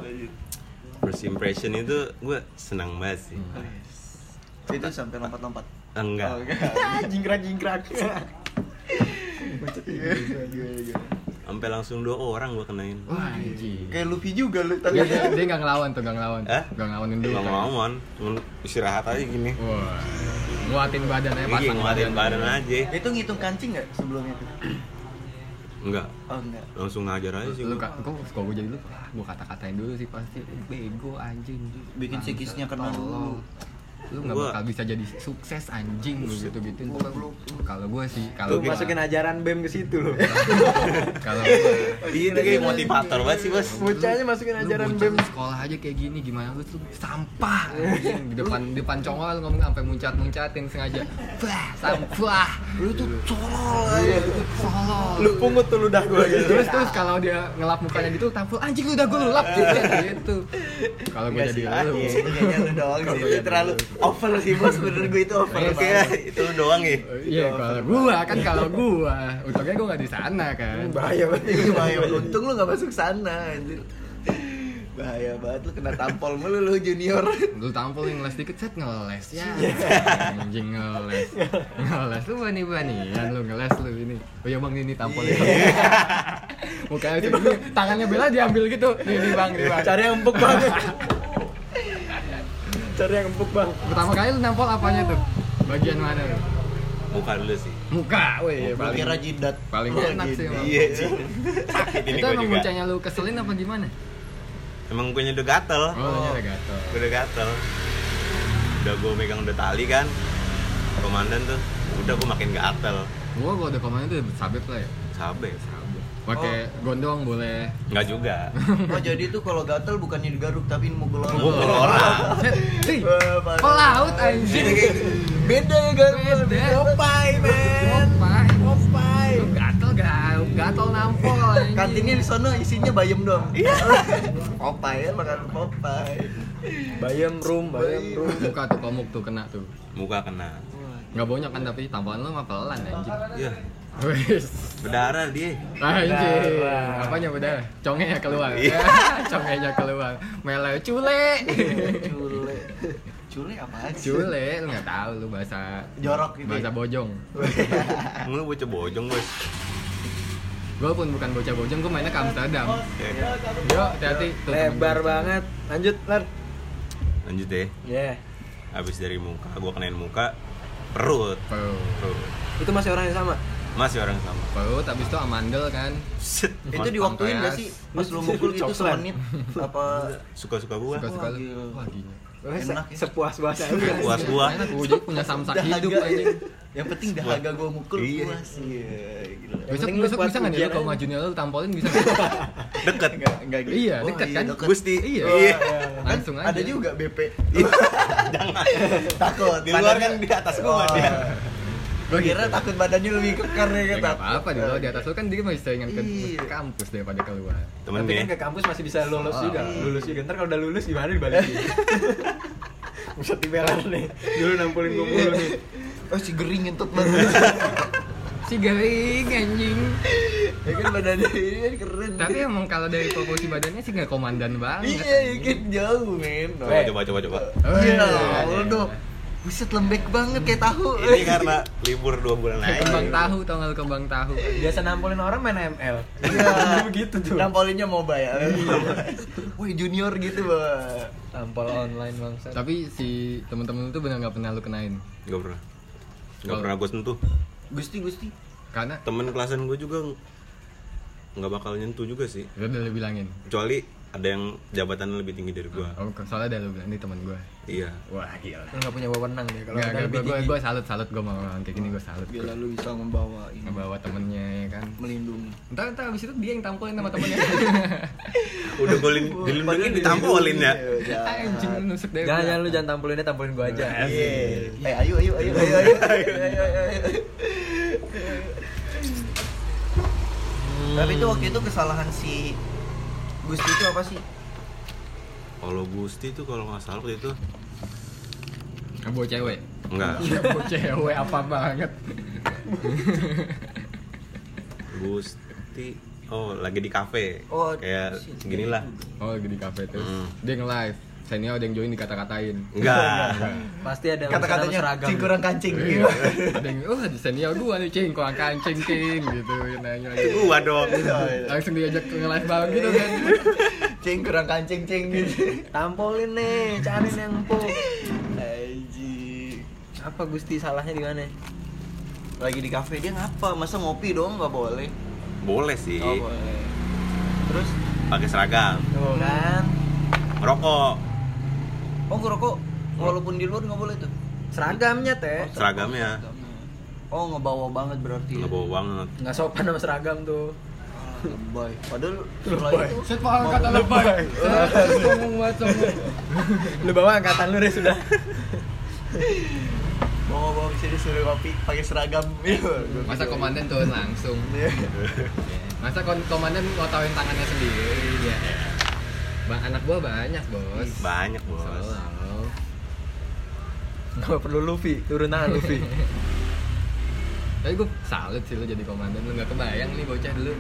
First impression itu gua senang banget sih. Itu sampai lompat-lompat. Oh, Enggak. Oh, Jingkrak-jingkrak. Sampai langsung dua orang gua kenain. Wah, anjing. Kayak Luffy juga lu tadi. Iya, Dia, dia, dia nggak ngelawan tuh, nggak ngelawan. tuh. Hah? Nggak ngelawanin dulu. Gak kan. mau man, cuman istirahat aja gini. Wah, nguatin badannya Iya, pasang ngeluarin badan aja. Itu ngitung kancing nggak sebelumnya tuh? Enggak, Oh enggak. langsung ngajar aja sih. Lu gua. kak, kok kok gue jadi lu? ah, Gua kata-katain dulu sih pasti. Lu Bego anjing. Bikin Bangsat, psikisnya kena tolol. dulu. Lu nggak Gua- bakal bisa jadi sukses anjing lu gitu gitu. Kalau gue sih, kalau Lu gua- masukin ajaran BEM ke situ lu. kalau gua- Iya, itu kayak motivator banget sih, Bos. Iya. Bocahnya masukin Lu ajaran bocah BEM. lu sekolah aja kayak gini gimana lu tuh sampah anjing. di depan di depan congol lu ngomong sampai muncat muncatin sengaja bah sampah lu tuh tolol aja lu tuh tolol Iya. Lu pungut tuh ludah gua gitu. terus terus kalau dia ngelap mukanya gitu tampil Iya. anjing lu udah gue lelap gitu gitu kalau gue jadi lu Ah, Iya, itu kayaknya lu doang sih. Itu terlalu over sih bos bener gue (laughs) itu over Iya, oke Pak. itu doang ya Iya, kalau gua kan kalau gua, untungnya gua nggak di sana kan. bahaya banget Iya, Iya, bahaya banget. untung lu gak masuk sana anjir bahaya banget lu kena tampol mulu lu junior Lu tampol yang les dikit set ngeles ya. Anjing ngeles. Ngeles lu bani banian lu ngeles lu ini. Oh ya Bang ini tampol ini. Mukanya tuh ini, tangannya Bella diambil gitu. Nih nih Bang, nih Bang. Cari yang empuk bang. (laughs) Cari yang empuk bang. Pertama kali lu nampol apanya tuh? Bagian mana lu? muka dulu sih Muka, weh, gue paling kira jidat paling Oh, enak sih. jidat. Bang. iya (laughs) sih sakit ini Itu gue emang juga muncanya lu keselin apa gimana? emang gue udah gatel Oh, ada gatel. gue udah gatel udah gue megang udah tali kan komandan tuh udah gue makin gatel Gua kalau udah komandan tuh sabep lah ya. cabe Pakai gondong boleh. nggak juga oh jadi tuh kalau gatel bukannya digaruk tapi mukul orang Mukul orang. Hei, Eh, parah. pelaut anjing. beda ya gatel Beda. Popeye men Popai. Popeye Lu gatel gak? Gatel nampol anjing. kantinnya di sana isinya bayam doang Popeye ya makan Popeye Bayam room, bayam room. muka tuh komuk tuh kena tuh. muka kena Gak banyak kan tapi tambahan lu mah pelan anjing. ya Wis. berdarah dia Anjing. Apanya udah? Congenya keluar. (laughs) Congenya keluar. Mele cule. (laughs) cule cule apaan sih Cule lu enggak tahu lu bahasa jorok gitu bahasa ya? bojong. lu bocah bojong bos Gue pun bukan bocah bojong, gue mainnya ke Amsterdam. Yo, hati-hati. Tuh, Lebar banget. Lanjut Lar. lanjut deh Ya. habis dari muka gue kenain muka perut Perut. perut Itu masih orang yang sama. masih orang sama Perut habis itu amandel kan. Set. itu diwaktuin gak sih pas lu mukul gitu Coklat. semenit apa suka-suka gua Suka-suka lu. gila. Wah, gila. Enak ya. Sepuas-puasnya. puas gua Mainnya gua jadi punya samsak hidup anjing. yang penting dahaga gua mukul Iya. puas iya gila Besok penting lu besok kuat bisa nggak nih lu ujian kalau aja. ngajuin lu tampolin bisa nggak? Gitu. deket enggak Iya, dekat kan? gusti Iya. iya Langsung gitu. aja. Kan ada juga (laughs) BP (laughs) jangan takut di luar kan badannya- Oh, iya. di atas gua dia Gua kira takut badannya lebih kekar ya Ya kan nggak apa-apa di luar di atas lu kan dia masih saingan ke Iya. ke kampus daripada keluar. temen ya. Tapi nih kan ke kampus masih bisa lolos Oh. juga. Lulus juga. Ntar kalau udah lulus gimana dibalikin? (laughs) Bisa tibelan nih. Dulu nampulin gue mulu nih. oh si gering (laughs) ngentut banget Si garing anjing. ya kan badannya ini kan keren Tapi emang kalau dari proporsi badannya sih nggak komandan banget. iya ya kan jauh men coba coba coba coba Iya, iya. Aldo. Buset lembek banget kayak tahu. ini kan karena libur dua bulan lagi Kembang tahu tau nggak lu kembang tahu? Biasa nampulin orang main ML. Kan (laughs) (laughs) Iya. Begitu tuh. Nampolinnya MOBA ya. (laughs) Woi, junior gitu, Bang. Tampol online bangsa. Tapi si temen-temen lu tuh bener nggak pernah lu kenain. nggak pernah nggak pernah gua sentuh Gusti, Gusti. Karena temen kelasan gua juga nggak bakal nyentuh juga sih udah ya udah lu bilangin. kecuali ada yang jabatan lebih tinggi dari gua Oh, soalnya udah lu bilang ini temen gue. iya Wah gila. Lu nggak punya wewenang deh kalau Gak, ada lebih gue tinggi. gue salut salut gue mau orang kayak gini gue salut. Gila lu bisa membawa ini, Ngebawa temennya ya kan. melindungi. Entar entar abis itu dia yang tampolin sama (laughs) temennya. udah golin dilindungin ditampolin ya Anjing lu nusuk deh. Jangan jangan lu jangan tampulin deh, tampulin gue aja. kan. Iya. Eh, ayo ayo ayo ayo ayo. ayo, ayo, ayo. Tapi itu waktu itu kesalahan si Gusti itu apa sih? kalau Gusti tuh kalau nggak salah waktu itu Bawa cewek. enggak Iya, bawa cewek apa banget. Gusti oh lagi di kafe Oh, kayak shit. gini lah Oh, lagi di kafe terus. Hmm. Dia nge-live. Senior ada yang join dikata-katain. enggak Pasti ada yang sama Kata-katanya seragam. cing kurang kancing. Iya. ada yang, oh ada senior gua nih cing, kurang kancing cing gitu nanya. gua dong Langsung diajak nge-live bareng gitu kan. Cing kurang kancing cing kan, gitu. Tampolin nih, cariin yang empuk. Anjing. Apa Gusti salahnya di mana? lagi di kafe dia ngapa masa ngopi dong nggak boleh boleh sih oh boleh terus pakai seragam Tuh kan. merokok oh ngerokok walaupun di luar nggak boleh tuh Seragamnya teh. seragamnya oh ngebawa banget berarti ya? nggak bawa banget Nggak sopan sama seragam tuh. Ah, lebay padahal setelah itu Set paham kata lebay. Ngomong banget sombong. Lu bawa angkatan lu deh sudah. bawa bawa bisa disuruh ngopi pakai seragam Iya, gua Masa pikir. komandan turun langsung. Iya. Masa kon- komandan ngotoin tangannya sendiri ya. Bang anak gua banyak, Bos. banyak bos Selalu. Gak perlu Luffy, turun tangan Luffy Tapi gue salut sih lo jadi komandan, lo gak kebayang nih bocah dulu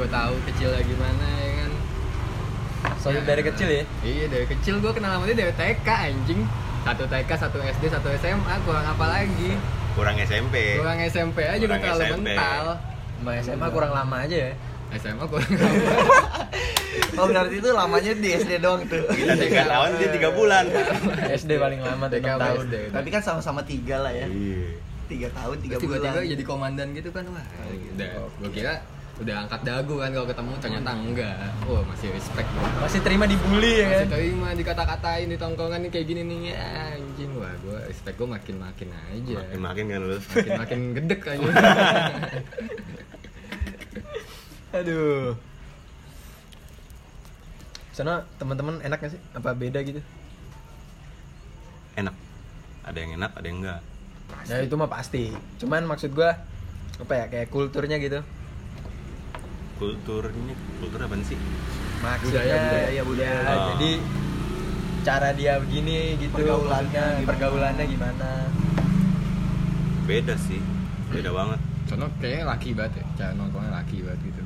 Gue tahu kecilnya gimana ya kan Soalnya dari kecil ya Iya dari kecil gue kenal sama dia dari TK anjing Satu TK, satu SD, satu SMA, kurang apa lagi kurang SMP Kurang SMP aja gue Kurang terlalu SMP. mental Sama SMA Iya. kurang lama aja ya SMA kurang apa Oh berarti itu lamanya di SD doang tuh. kita tiga tahun dia tiga bulan SD paling lama tuh TK 6 sama tahun SD Tapi kan sama-sama tiga lah ya. Iya. Tiga tahun, tiga Terus bulan. tiba-tiba jadi komandan gitu kan wah udah gue kira udah angkat dagu kan kalau ketemu ternyata enggak wah masih respect gua. Masih terima dibully ya masih kan terima dikata-katain di tongkongan nih kayak gini nih ya anjing wah gue respect gue makin-makin aja makin makin kan lu (laughs) makin-makin gedek aja Aduh Sana teman-teman enak gak sih? Apa beda gitu? enak ada yang enak ada yang enggak Ya itu mah pasti Cuman maksud gua Apa ya, kayak kulturnya gitu kulturnya kultur apa sih Maksudnya Budaya, budaya, ya, budaya. Ah. Jadi cara dia begini gitu Pergaulannya maksudnya gimana? pergaulannya gimana beda sih beda banget Sono kayaknya laki banget ya cara nongkrongnya laki banget gitu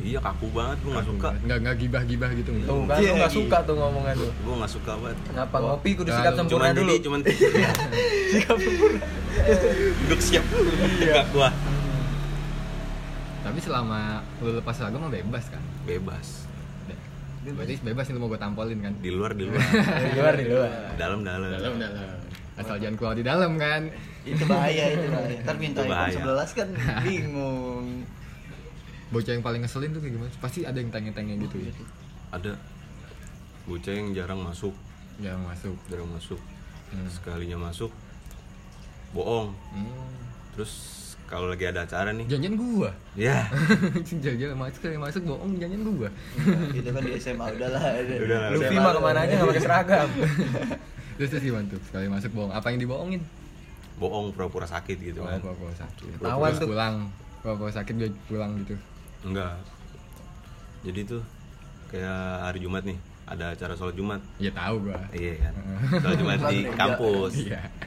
iya kaku banget gue nggak suka nggak nggak gibah-gibah gitu tuh kan Iya, lu nggak iya. suka tuh ngomongan tuh gue nggak suka banget kenapa ngopi kudu Terlalu. sikap cuman sempurna dulu (laughs) jadi cuman duduk siap Iya. tegak gua tapi selama lu lepas seragam mah bebas kan bebas Udah. berarti bebas nih lu mau gue tampolin kan di luar (laughs) di luar (laughs) di luar di luar dalam dalam dalam dalam asal jangan keluar di dalam kan Itu bahaya, itu bahaya. Ntar minta Itu bahaya. iPhone 11 kan bingung. bocah yang paling ngeselin tuh kayak gimana pasti ada yang tanya-tanya gitu ya ada bocah yang jarang masuk yang masuk jarang masuk Hmm. sekalinya masuk bohong hmm. terus kalau lagi ada acara nih janjian gua (laughs) ya janjian masuk yang masuk bohong janjian gua Itu kan di SMA udahlah. Udahlah, Luffy SMA mah kemana aja nggak pakai seragam terus terus gimana tuh sekali masuk bohong apa yang dibohongin bohong pura-pura sakit gitu oh, kan gua gua sakit Ketahuan Terus tuh. pulang gua gua sakit dia pulang gitu enggak jadi tuh kayak hari Jumat nih ada acara sholat Jumat ya tahu gua (laughs) iya kan sholat Jumat di Sholat kampus iya (laughs)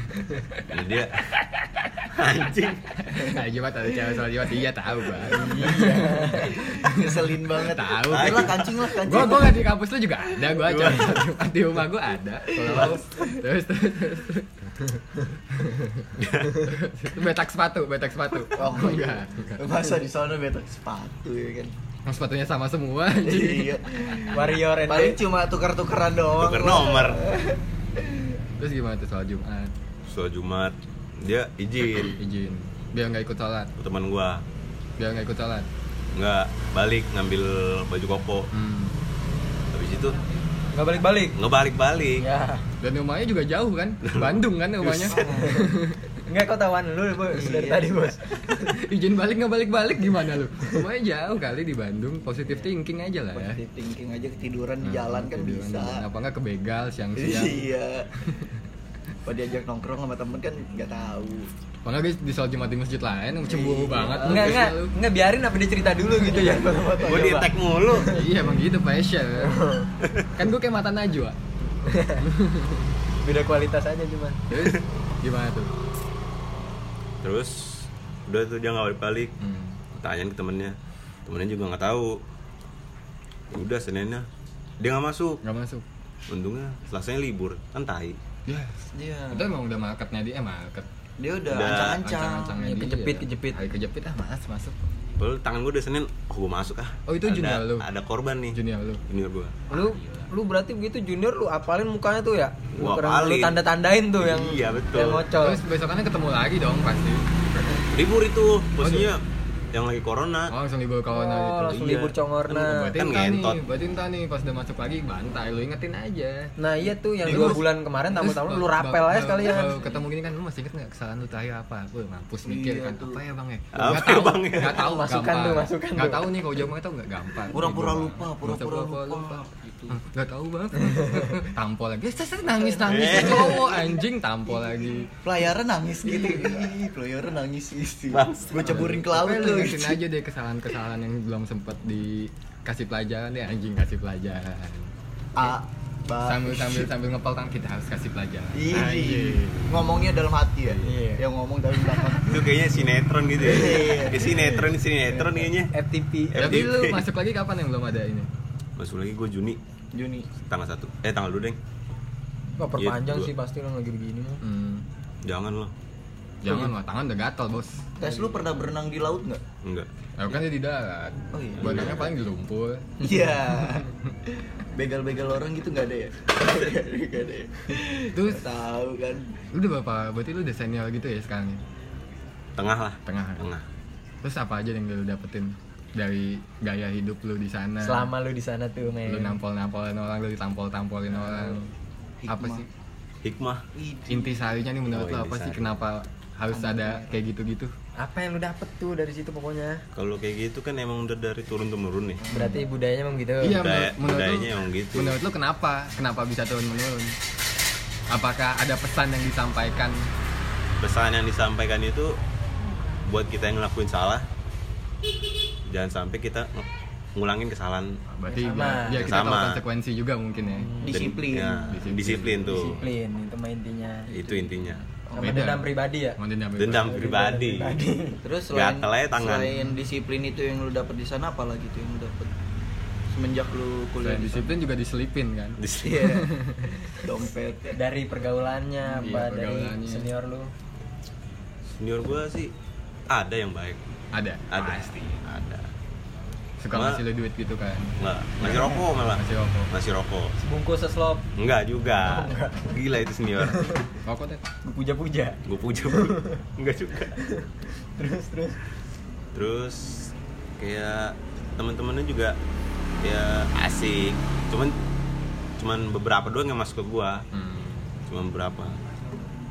Jadi dia anjing nah, Jumat ada cewek soal Jumat iya tahu gua Iya, Ngeselin banget. Tahu. Udahlah kancing lah kancing. gua gua nggak di kampus lu juga ada gua acara sholat Jumat di rumah gua ada kalau mau terus terus terus betak sepatu betak sepatu Oh, enggak iya. Masa di sana betak sepatu ya kan. Emang sepatunya sama semua anjing. Iya. warrior and Paling cuma tukar-tukaran doang. tuker nomor terus gimana tuh soal Jumat sholat Jumat dia izin izin biar nggak ikut sholat teman gua biar nggak ikut sholat nggak balik ngambil baju koko hmm. habis itu nggak balik balik nggak balik balik ya dan rumahnya juga jauh kan Bandung kan rumahnya nggak kau tawan lu bos dari tadi bos (laughs) izin balik nggak balik balik gimana lu rumahnya jauh kali di Bandung positif thinking aja lah ya Positive thinking aja ketiduran di jalan kan Tiduran bisa. Nah, jalan. apa nggak kebegal siang-siang Iya. (laughs) Kalau diajak nongkrong sama temen kan nggak tahu. apa nggak guys di sholat Jumat di masjid lain cemburu Iya. banget lu, nggak guys, nggak lu. nggak biarin apa dia cerita dulu gitu ya gua di attack mulu iya emang gitu (laughs) passion kan gue kayak mata najwa beda kualitas aja cuman terus gimana tuh terus udah tuh dia nggak balik balik hmm. tanyain ke temennya temennya juga nggak tahu udah seninnya dia nggak masuk nggak masuk untungnya selasanya libur kan tai ya Iya. itu emang udah marketnya dia eh, market Dia udah Udah ancang-ancang. ancang-ancangnya Iya, dia kejepit, ya. kejepit. Hari kejepit ah mas masuk Padahal tangan gua udah senin oh gua masuk ah Oh, itu ada, junior lu? ada korban nih junior lu junior gua lu lu berarti begitu junior lu apalin mukanya tuh ya lu, Gua keren, lu apalin. tanda tandain tuh yang Iya, betul. yang ngocol terus besokannya ketemu lagi dong pasti libur itu posisinya yang lagi corona oh, langsung dibawa kawan Oh, gitu langsung Iya. libur Nah, congorna. Kan berarti Kan entah ngentot. nih berarti entah nih pas udah masuk lagi bantai lu ingetin aja Nah iya tuh yang Terus- dua bulan kemarin tamu-tamu Terus oh, lu baru- rapel baru- aja sekalian baru ketemu gini kan lu masih inget nggak kesalahan lu terakhir apa gue mampus mikir Iya kan tuh. apa ya bang ya Apa Nggak ya, tahu, Bang, ya? nggak tahu Masukan gampang. tuh, masukan nggak tuh. tahu nih kalau jawabannya tahu nggak gampang Pura-pura Gitu, lupa, Bang. pura-pura lupa. Hah, Gitu. nggak tahu bang (laughs) tampol lagi Eh, saya nangis nangis Eh. cowok anjing tampol lagi Pelayaran nangis gitu. Ih, Pelayaran nangis gitu. Bangsa. Gue ceburin ke laut gitu. Tapi lu. lu ingetin aja deh kesalahan-kesalahan yang belum sempet dikasih pelajaran deh anjing kasih pelajaran A Bang. sambil sambil sambil ngepel tangan kita harus kasih pelajaran Ah. Iya. Ngomongnya dalam hati ya. Iya. Yang ngomong dalam belakang. itu kayaknya sinetron gitu ya iya. Kayak sinetron sinetron kayaknya FTP tapi FTP. lu masuk lagi kapan yang belum ada ini masuk lagi gue Juni Juni. tanggal satu eh tanggal dua deng Wah perpanjang Iya, sih pasti lo lagi begini lo. hmm. jangan lo jangan lah tangan udah gatal bos Tes lu pernah berenang di laut (laughs) nggak? enggak Aku kan dia di darat Oh iya. Badannya paling di lumpur Iya. Begal-begal orang gitu nggak ada ya? (laughs) Nggak ada ya. Terus Tahu kan? Lu udah berapa? Berarti lu udah senior gitu ya sekarang ya? tengah lah Tengah tengah Terus apa aja yang lu dapetin dari gaya hidup lu di sana? Nah, Selama lu di sana tuh men. lu nampol-nampolin orang, lu ditampol-tampolin orang. Apa Hikmah. sih hikmah inti sarinya nih menurut Oh, lu apa intisari. sih kenapa harus ada kayak gitu-gitu? Apa yang lu dapet tuh dari situ pokoknya? kalau kayak gitu kan emang udah dari turun temurun nih Berarti budayanya emang gitu. Iya, budaya- menurut, menurut lu, budayanya emang gitu. menurut lu kenapa? Kenapa bisa turun-menurun? Apakah ada pesan yang disampaikan? pesan yang disampaikan itu buat kita yang ngelakuin salah jangan sampai kita ng- ngulangin kesalahan Berarti Yang biar, sama. biar Yang kita tahu sama. konsekuensi juga mungkin ya. Dan- Disiplin. ya, Disiplin. disiplin, tuh Iya. Disiplin itu mah intinya. itu intinya Sama Beda. dendam pribadi ya. Mau dendam dendam pribadi Terus selain Gatel aja tangan. selain disiplin itu yang lu dapet di sana apa lagi tuh yang lu dapet semenjak lu kuliah di Selain sana? disiplin juga diselipin kan? Disiplin. Iya. Dompet. Dari pergaulannya Iya, apa dari pergaulannya. senior lu? senior gue sih ada yang baik Ada. ada pasti ada Suka Ma- ngasih lu duit gitu kan? nggak masih rokok malah Ngasih rokok. masih rokok Sebungkus seslop enggak juga gila itu senior Rokok deh. puja-puja. gue puja enggak juga Terus terus. terus kayak teman-temannya juga ya asik cuman cuman beberapa doang yang masuk ke gua Hmm. cuman beberapa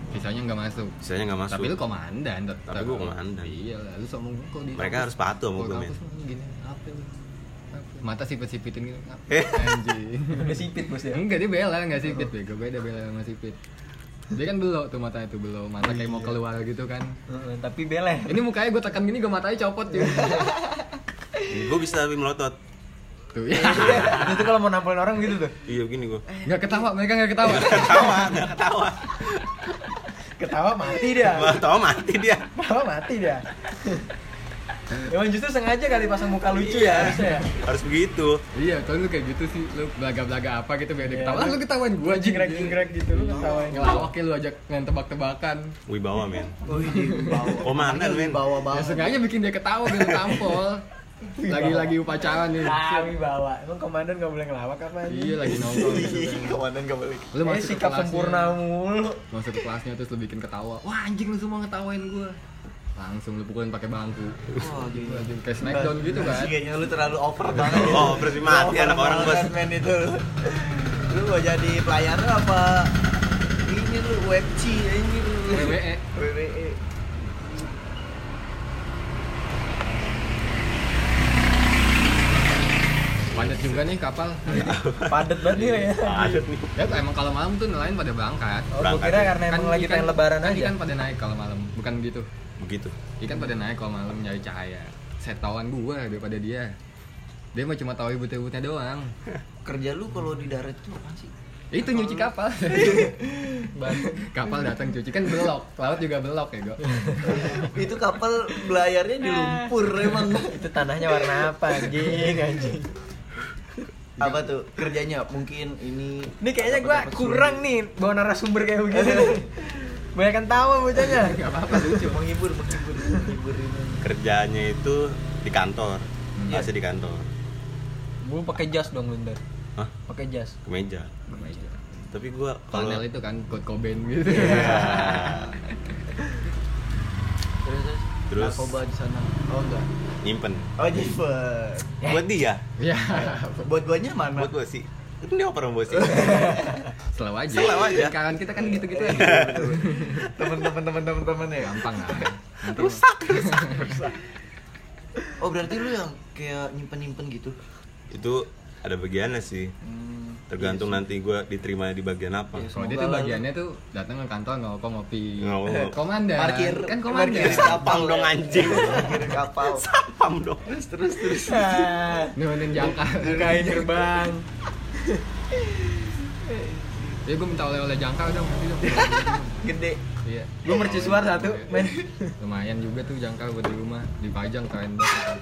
Sisanya nggak masuk. sisanya nggak masuk Tapi lu komandan tetap. Tapi gua komandan. Iya lah, lu sombong kok di. Mereka harus patuh sama gua, men. men. Gini, apa lu? Apa? Mata sipit-sipitin gitu. apa? Eh. Anjing. (laughs) Udah sipit bos ya. Enggak dia bela, enggak sipit bego. Beda bela sama sipit. Dia kan belok tuh matanya tuh belok, mata kayak Iya. mau keluar gitu kan. Heeh, Tapi beleh. Ini mukanya gue tekan gini, gue matanya copot tuh. Iya. gua bisa lebih melotot tuh ya. itu kalau mau nampolin orang gitu tuh. iya begini gua Enggak ketawa, mereka enggak (laughs) ketawa. ketawa nggak ketawa Ketawa mati dia. Wah, tahu mati dia Ketawa mati dia. Emang justru sengaja kali pasang muka lucu ya harusnya ya. harus begitu iya, tuh lu kayak gitu sih, lu belaga-belaga apa gitu biar dia Iya, ketawa. Lah lu- lu ketawain gue aja. Jingkrak-jingkrak gitu lu ketawain. Ngelawak ya lu ajak main tebak-tebakan. wibawa men Oh iya, komandan men bawa Ya banget. sengaja bikin dia ketawa biar lu tampol. Iya. Lagi-lagi upacara nih. Kami bawa. Emang komandan gak boleh ngelawak apa aja? Iya lagi nongkrong. gitu kan. Komandan gak boleh. Lu masuk ke Eh, Iya. sikap kelasnya. sempurna mulu. Masuk ke kelasnya terus lu bikin ketawa. Wah, anjing lu semua ngetawain gua. Langsung lu pukulin pakai bangku. Oh, Gitu, anjing. Kayak smackdown gitu kan. Kayaknya lu terlalu over banget. ya. oh berarti mati Lu anak over orang bos banget, men itu. Lu mau jadi pelayan lu apa? Ini lu WebC ini lu. WWE. WWE. Padat juga nih kapal. Padet banget nih ya. ada nih Ya emang kalau malam tuh nelayan pada berangkat. Oh, gua kira karena emang lagi ikan- pengen lebaran kan aja. Ikan pada naik kalau malam, bukan gitu. begitu Ikan pada naik kalau malam nyari cahaya. Setawan gua daripada dia. Dia mah cuma tahu ribut-ributnya doang. Kerja lu kalau di darat itu apa sih? Ya, Itu nyuci (laughs) kapal. kapal datang cuci kan belok, laut juga belok ya, Go. itu kapal belayarnya di lumpur emang. Itu tanahnya warna apa anjing anjing. Apa tuh kerjanya? Mungkin ini. Ini kayaknya gua dapat-dapat kurang sumber. nih bawa narasumber kayak (laughs) begini. Banyak kan tawa bocahnya. Enggak apa-apa lucu. Menghibur, menghibur, menghibur ini. kerjanya itu di kantor Hmm. masih di kantor Gua pakai jas dong lu ntar. Hah? Pakai jas. ke meja tapi gua Iya. kalau Panel itu kan Kurt Cobain gitu. (laughs) Nah, Ya. Terus, terus, Terus? narkoba di sana. Oh enggak. nyimpen Oh jipet. buat dia (laughs) Ya, Buat guanya mana? buat gua sih itu dia oper (laughs) sama gua sih selalu aja. Selaw aja. Kawan kita kan gitu-gitu aja. Temen-temen temen-temen temen ya. Gampang lah. Nanti- Oh berarti lu yang kayak nyimpen-nyimpen gitu? itu ada bagiannya sih Hmm, tergantung nanti gua diterima di bagian apa Iya. Kalau dia tuh bagiannya tuh datang ke kantor ngopi ngopi. Ngerokok. Komandan. parkir Kan komandan. parkir kapal dong, anjing. (laughs) parkir kapal paham dong terus terus terus Ah, Nurunin jangka. Bukain gerbang. ya gue minta oleh-oleh jangka dong nanti dong Gede. iya Gua mercusuar satu, men. lumayan juga tuh jangka buat di rumah dipajang keren banget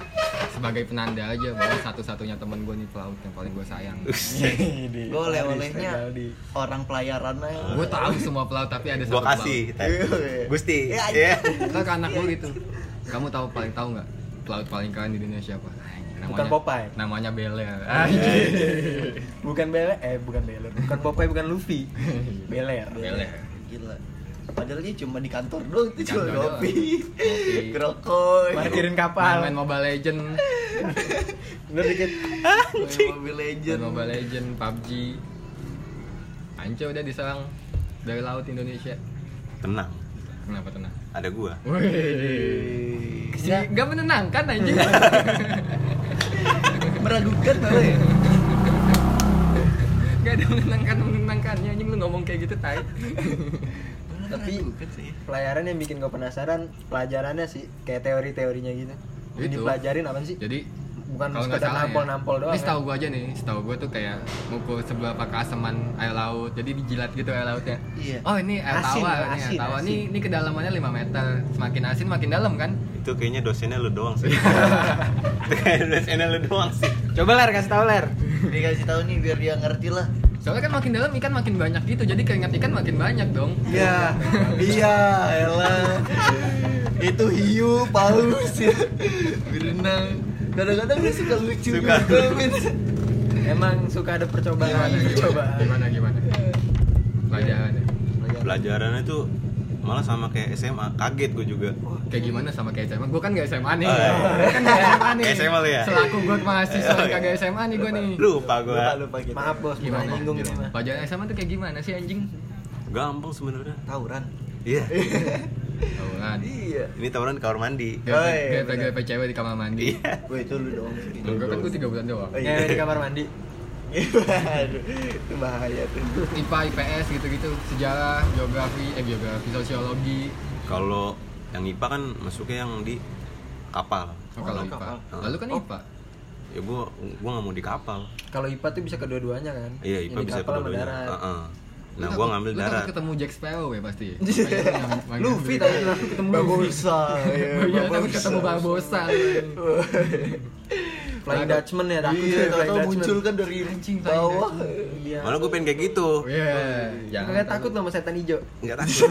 sebagai penanda aja bahwa satu-satunya temen gue nih pelaut yang paling gue sayang Gue oleh-olehnya orang pelayaran aja. gue tahu semua pelaut tapi ada satu Gua kasih. Ted. Gusti. Iya, Iya. pelaut Kita ke anak lu gitu kamu tahu paling tahu nggak pelaut paling keren di dunia siapa Anjing, Bukan Popeye. namanya Bele (laughs) Anjing. Bukan Bele, eh bukan Bele. Bukan Popeye, bukan Luffy. Beler. Bele Gila. Padahal dia cuma di kantor doang, itu cuma Kantor doang. Iya. kopi, Kopi. gerokok, main, Parkirin kapal. main Mobile Legend Bener dikit. main Mobile main Legend. Mobile Legend PUBG Anco udah diserang dari laut Indonesia Tenang, kenapa tenang ada gua. Wih, nggak nggak menenangkan (laughs) anjing. Meragukan malah ya. Nggak ada menenangkan menenangkannya anjing lu ngomong kayak gitu tai. Tapi meragukan sih. Pelayaran yang bikin gue penasaran pelajarannya sih kayak teori-teorinya gitu. Jadi Itu. dipelajarin apa sih? Jadi Bukan kalau nggak sekedar salah nampol-nampol ya. doang. Ini ya. setahu gua aja nih, setahu gua tuh kayak mukul seberapa keasaman air laut. Jadi dijilat gitu air lautnya. Iya. Oh, ini air Asin, tawar, ini air asin, tawar. Ini asin. ini kedalamannya 5 meter. Semakin asin makin dalam kan? Itu kayaknya dosennya lu doang sih. dosennya lu doang sih. Coba ler kasih tahu ler. Dikasih tahu nih biar dia ngerti lah. Soalnya kan makin dalam ikan makin banyak gitu. Jadi keringat ikan makin banyak dong. Iya, iya, elah. Itu hiu, paus ya. Berenang. Kadang-kadang dia suka lucu Suka. gitu, Min. Emang suka ada percobaan, Iya, ada percobaan. Gimana gimana? Pelajarannya. Pelajarannya tuh malah sama kayak SMA, kaget gua juga. Kayak gimana sama kayak SMA? Gue kan gak SMA nih. Oh, iya. Gua kan gak SMA nih. (laughs) Kayak SMA lu ya? Selaku gue mahasiswa Oh, iya. kagak SMA nih gue nih. Lupa Lupa, gua. lupa gitu. Maaf bos, Gimana? gimana nyinggung ini mah. Pelajaran SMA tuh kayak gimana sih (laughs) anjing? Gampang sebenarnya. Tawuran. Iya. Tauran. Iya. Ini tawuran di kamar mandi. Oh, iya, benar. Gaya-gaya cewek di kamar mandi. Iya. Gue itu lu dong. (laughs) Lu gua kan gue tiga bulan doang. Oh, Ya di kamar mandi. Aduh, itu bahaya tuh. IPA, IPS gitu-gitu, sejarah, geografi, eh geografi, sosiologi, Kalau yang IPA kan masuknya yang di kapal. oh, kalau lu IPA. kapal. Lalu kan Oh. IPA. Ya gua gua nggak mau di kapal. Kalau IPA tuh bisa kedua-duanya kan? Iya, IPA Yang di bisa kapal sama kedua-duanya. darat. Heeh. Lu Nah, takut- gua ngambil lu takut darat. ketemu Jack Sparrow ya (laughs) pasti. Kayaknya yang- yang- Luffy yang- tapi langsung ketemu Luffy. Barbosa. ya, Oh iya, takut Barbosa. ketemu Barbosa. Flying Dutchman ya, takut Iya, saya Flying tahu Dutchman. muncul kan dari Anjing, tai bawah. Iya. Malah gua pengen kayak gitu. Iya. Jangan Kalian takut sama setan hijau. Enggak takut.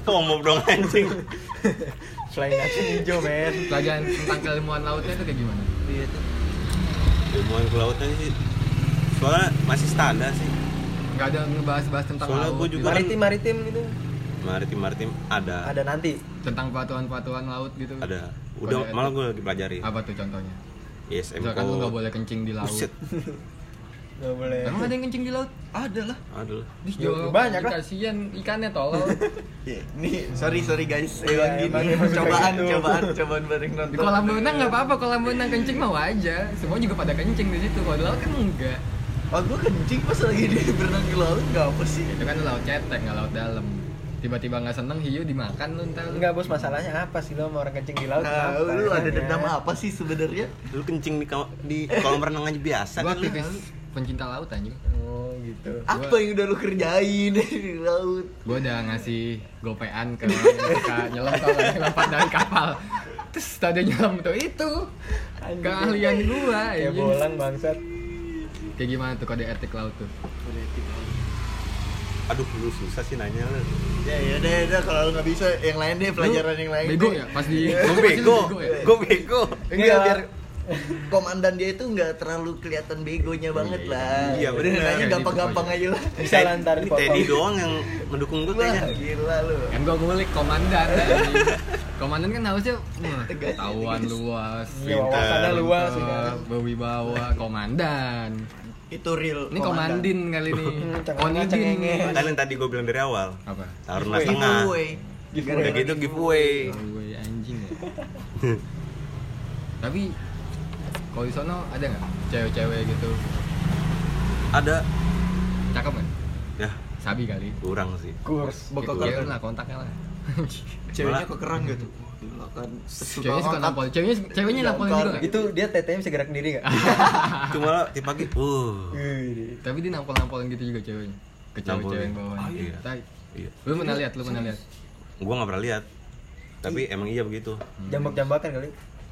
(laughs) Ngomong dong anjing. Flying Dutchman hijau, men. Pelajaran tentang keilmuan lautnya itu kayak gimana? Iya tuh. Ilmuwan kelautan sih. Soalnya masih standar sih. Gak ada ngebahas-bahas tentang Soalnya laut, gua juga gitu. kan- Maritim maritim gitu. Maritim-maritim ada. Ada nanti. gitu. tentang patuan-patuan laut gitu. Ada. Udah Kode malah etik. gua lagi pelajari. Apa tuh contohnya? ISM Misalkan lu gak code. boleh kencing di laut. (laughs) Buset. Gak boleh. Emang ada yang kencing di laut? Ada lah. Aduh. Di Ya, banyak lah. Kasihan ikannya tolol. Iya, Nih, sorry sorry guys, emang Iya, gini emang- emang cobaan, gitu. cobaan, cobaan bareng nonton. di kolam renang nggak apa-apa, kolam renang kencing mau aja. Semua juga pada kencing di situ. Kalau di laut kan enggak. Oh, gua kencing pas lagi di berenang di laut nggak apa sih? Itu kan laut cetek, nggak laut dalam. Tiba-tiba nggak seneng hiu dimakan lu ntar. Enggak bos, masalahnya apa sih lo sama orang kencing di laut? Nah, Kenapa? lu ada Ya. dendam apa sih sebenarnya? Lu kencing di, kam- di kolam renang aja biasa Gua kan lu. aktivis pencinta laut anjing. Oh gitu. Apa yang udah lu kerjain (laughs) di laut? Gua udah ngasih gopean ke orang yang suka nyelam kalau lagi lompat dari kapal. Terus tadi nyelam tuh itu Anjing. keahlian gua Ya anjing. bolang bangsat. Kayak gimana tuh kode etik laut tuh? Aduh, lu susah sih nanya lu. Ya ya deh, deh kalau lu nggak bisa yang lain deh pelajaran Lu yang lain. Bego deh. ya pas di Gua pasti lu bego. ya? Gua bego. Enggak Enggak. biar komandan dia itu nggak terlalu kelihatan begonya banget lah. Iya, udah bener. nanya Kayak gampang-gampang gitu aja lah. Bisa lantar Ini dipotong. Teddy doang yang mendukung gua Wah, kayaknya. gila lu. Kan gua ngulik komandan anjing. Komandan kan harusnya wah, Tegas, ketahuan luas. Iya, wawasannya Pinter. luas ya kan. berwibawa komandan. Itu real. Ini komandin kali ini. Hmm, cengenges, Konidin. cengenges. Kan yang tadi gua bilang dari awal. Apa? Giveaway. Taruna setengah. Giveaway. Giveaway. Udah gitu giveaway. Gue anjing ya. (laughs) Tapi kalau di sono ada nggak cewek-cewek gitu Ada cakep kan? ya Sabi kali. kurang sih. Kurs. Bekal Iya kan. lah kontaknya lah. Ceweknya Malah- kok keren gitu. Gila kan. Ceweknya suka gitu. nampol. Ceweknya ceweknya nampol Jangan. juga. nggak? Itu dia tetenya bisa gerak sendiri enggak? Cuma lo tiap pagi, uh, Tapi dia nampol-nampolin gitu juga ceweknya. ke cewek-cewek yang bawah. Ah, iya. Tai. Iya. Lu pernah lihat, lu pernah lihat. Gua nggak pernah lihat. Tapi emang iya begitu. Jambak-jambakan kali.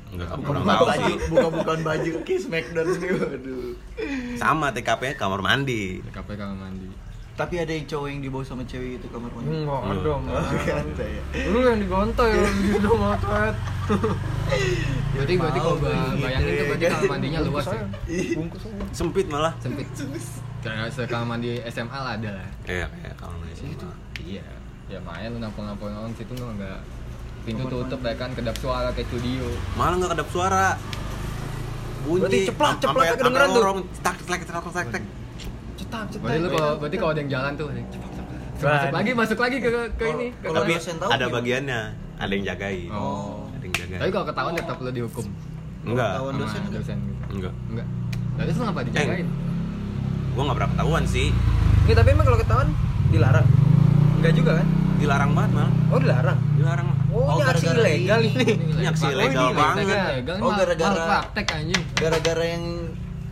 Enggak pernah Buka-bukaan tahu baju, sih. buka-bukaan baju Kiss Smackdown nih, waduh Sama TKP kamar mandi. TKP kamar mandi. Tapi ada yang cowok yang dibawa sama cewek itu kamar mandi Enggak Lu. dong. ada ya Lu yang digontoy lu gitu ngotot. Berarti berarti kalau gua bayangin tuh berarti kamar mandinya luas (laughs) ya. Bungkus aja. Sempit malah. Sempit. Kayak se kamar mandi SMA lah ada lah. Iya, kayak kamar mandi sih. Iya. Ya main lu nampol-nampol orang situ lu enggak pintu tutup ya kan kedap suara kayak studio. Malah nggak kedap suara. Bunyi. Berarti ceplak, am- ceplaknya ampe- kedengeran ampe tuh. lorong, Tak tak tak tak tak. Cetak, cetak. Berarti lu kalau berarti kalau ada yang jalan tuh ada yang cepat, cepat. masuk lagi masuk lagi ke ke ini ke Oh, Kalau Tapi dosen tahu ada gimana? bagiannya, ada yang jagain. Oh. Ada yang jagain. Tapi kalau ketahuan tetap lu dihukum. Enggak. Ketahuan sama dosen Eh, enggak? dosen gitu. Enggak. Enggak. Tapi lu ngapa dijagain? Gua nggak pernah ketahuan sih. Ini tapi emang kalau ketahuan dilarang. Enggak juga kan? Dilarang banget malah. Oh, dilarang. Dilarang. Oh, Oh, ini aksi gara-gara ilegal ini. ini. Ini aksi Oh, ini ilegal banget. ilegal, ilegal. Ini Oh, mal- gara-gara- malpraktek, anjing. Gara-gara yang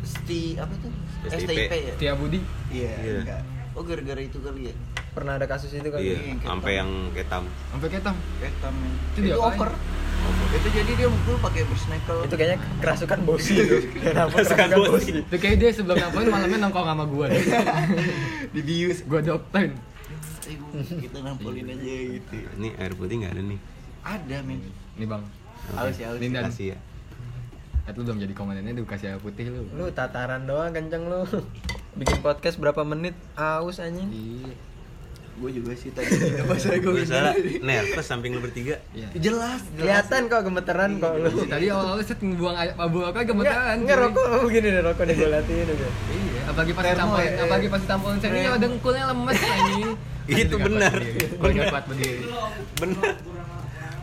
sti apa tuh? STIP. STIP ya? Setia Budi. Iya, Iya. enggak. Oh gara-gara itu kali ya? Pernah ada kasus itu kan? kali. Iya, yang ketam. Oh, sampai yang ketam. Sampai ketam. Ketam Itu Itu, dia itu apaan? over. Itu jadi dia mukul pakai bersnekel. Itu kayaknya kerasukan bosi itu. Kenapa kerasukan bosi? Itu kayak dia sebelum ngapain malamnya nongkrong sama (laughs) gua. dibius. gua dokterin. Eh, kita nampolin aja gitu. Ini air putih nggak ada nih. Ada men. Nih Bang, Halus ya, halus. Linda. ya. Dan- Kasih ya. Ed lu belum jadi komandannya udah kasih air putih lu. Lu tataran doang kenceng lu. (laughs) Bikin podcast berapa menit aus anjing. Iya. Gue juga sih tadi (laughs) apa saya gue Gue salah nervous samping lu bertiga. Iya. Jelas, jelas. Kelihatan kok gemeteran kok lu. Tadi awal-awal set ngebuang air abu aku Enggak, gemeteran. enggak cuy. rokok begini deh rokok nih gue liatin udah. Iya, apalagi pas Termo, tampon, eh. apalagi pas tampon sini ya dengkulnya lemes anjing. Itu Gak kuat benar. berdiri. Gua gak kuat berdiri. Bener.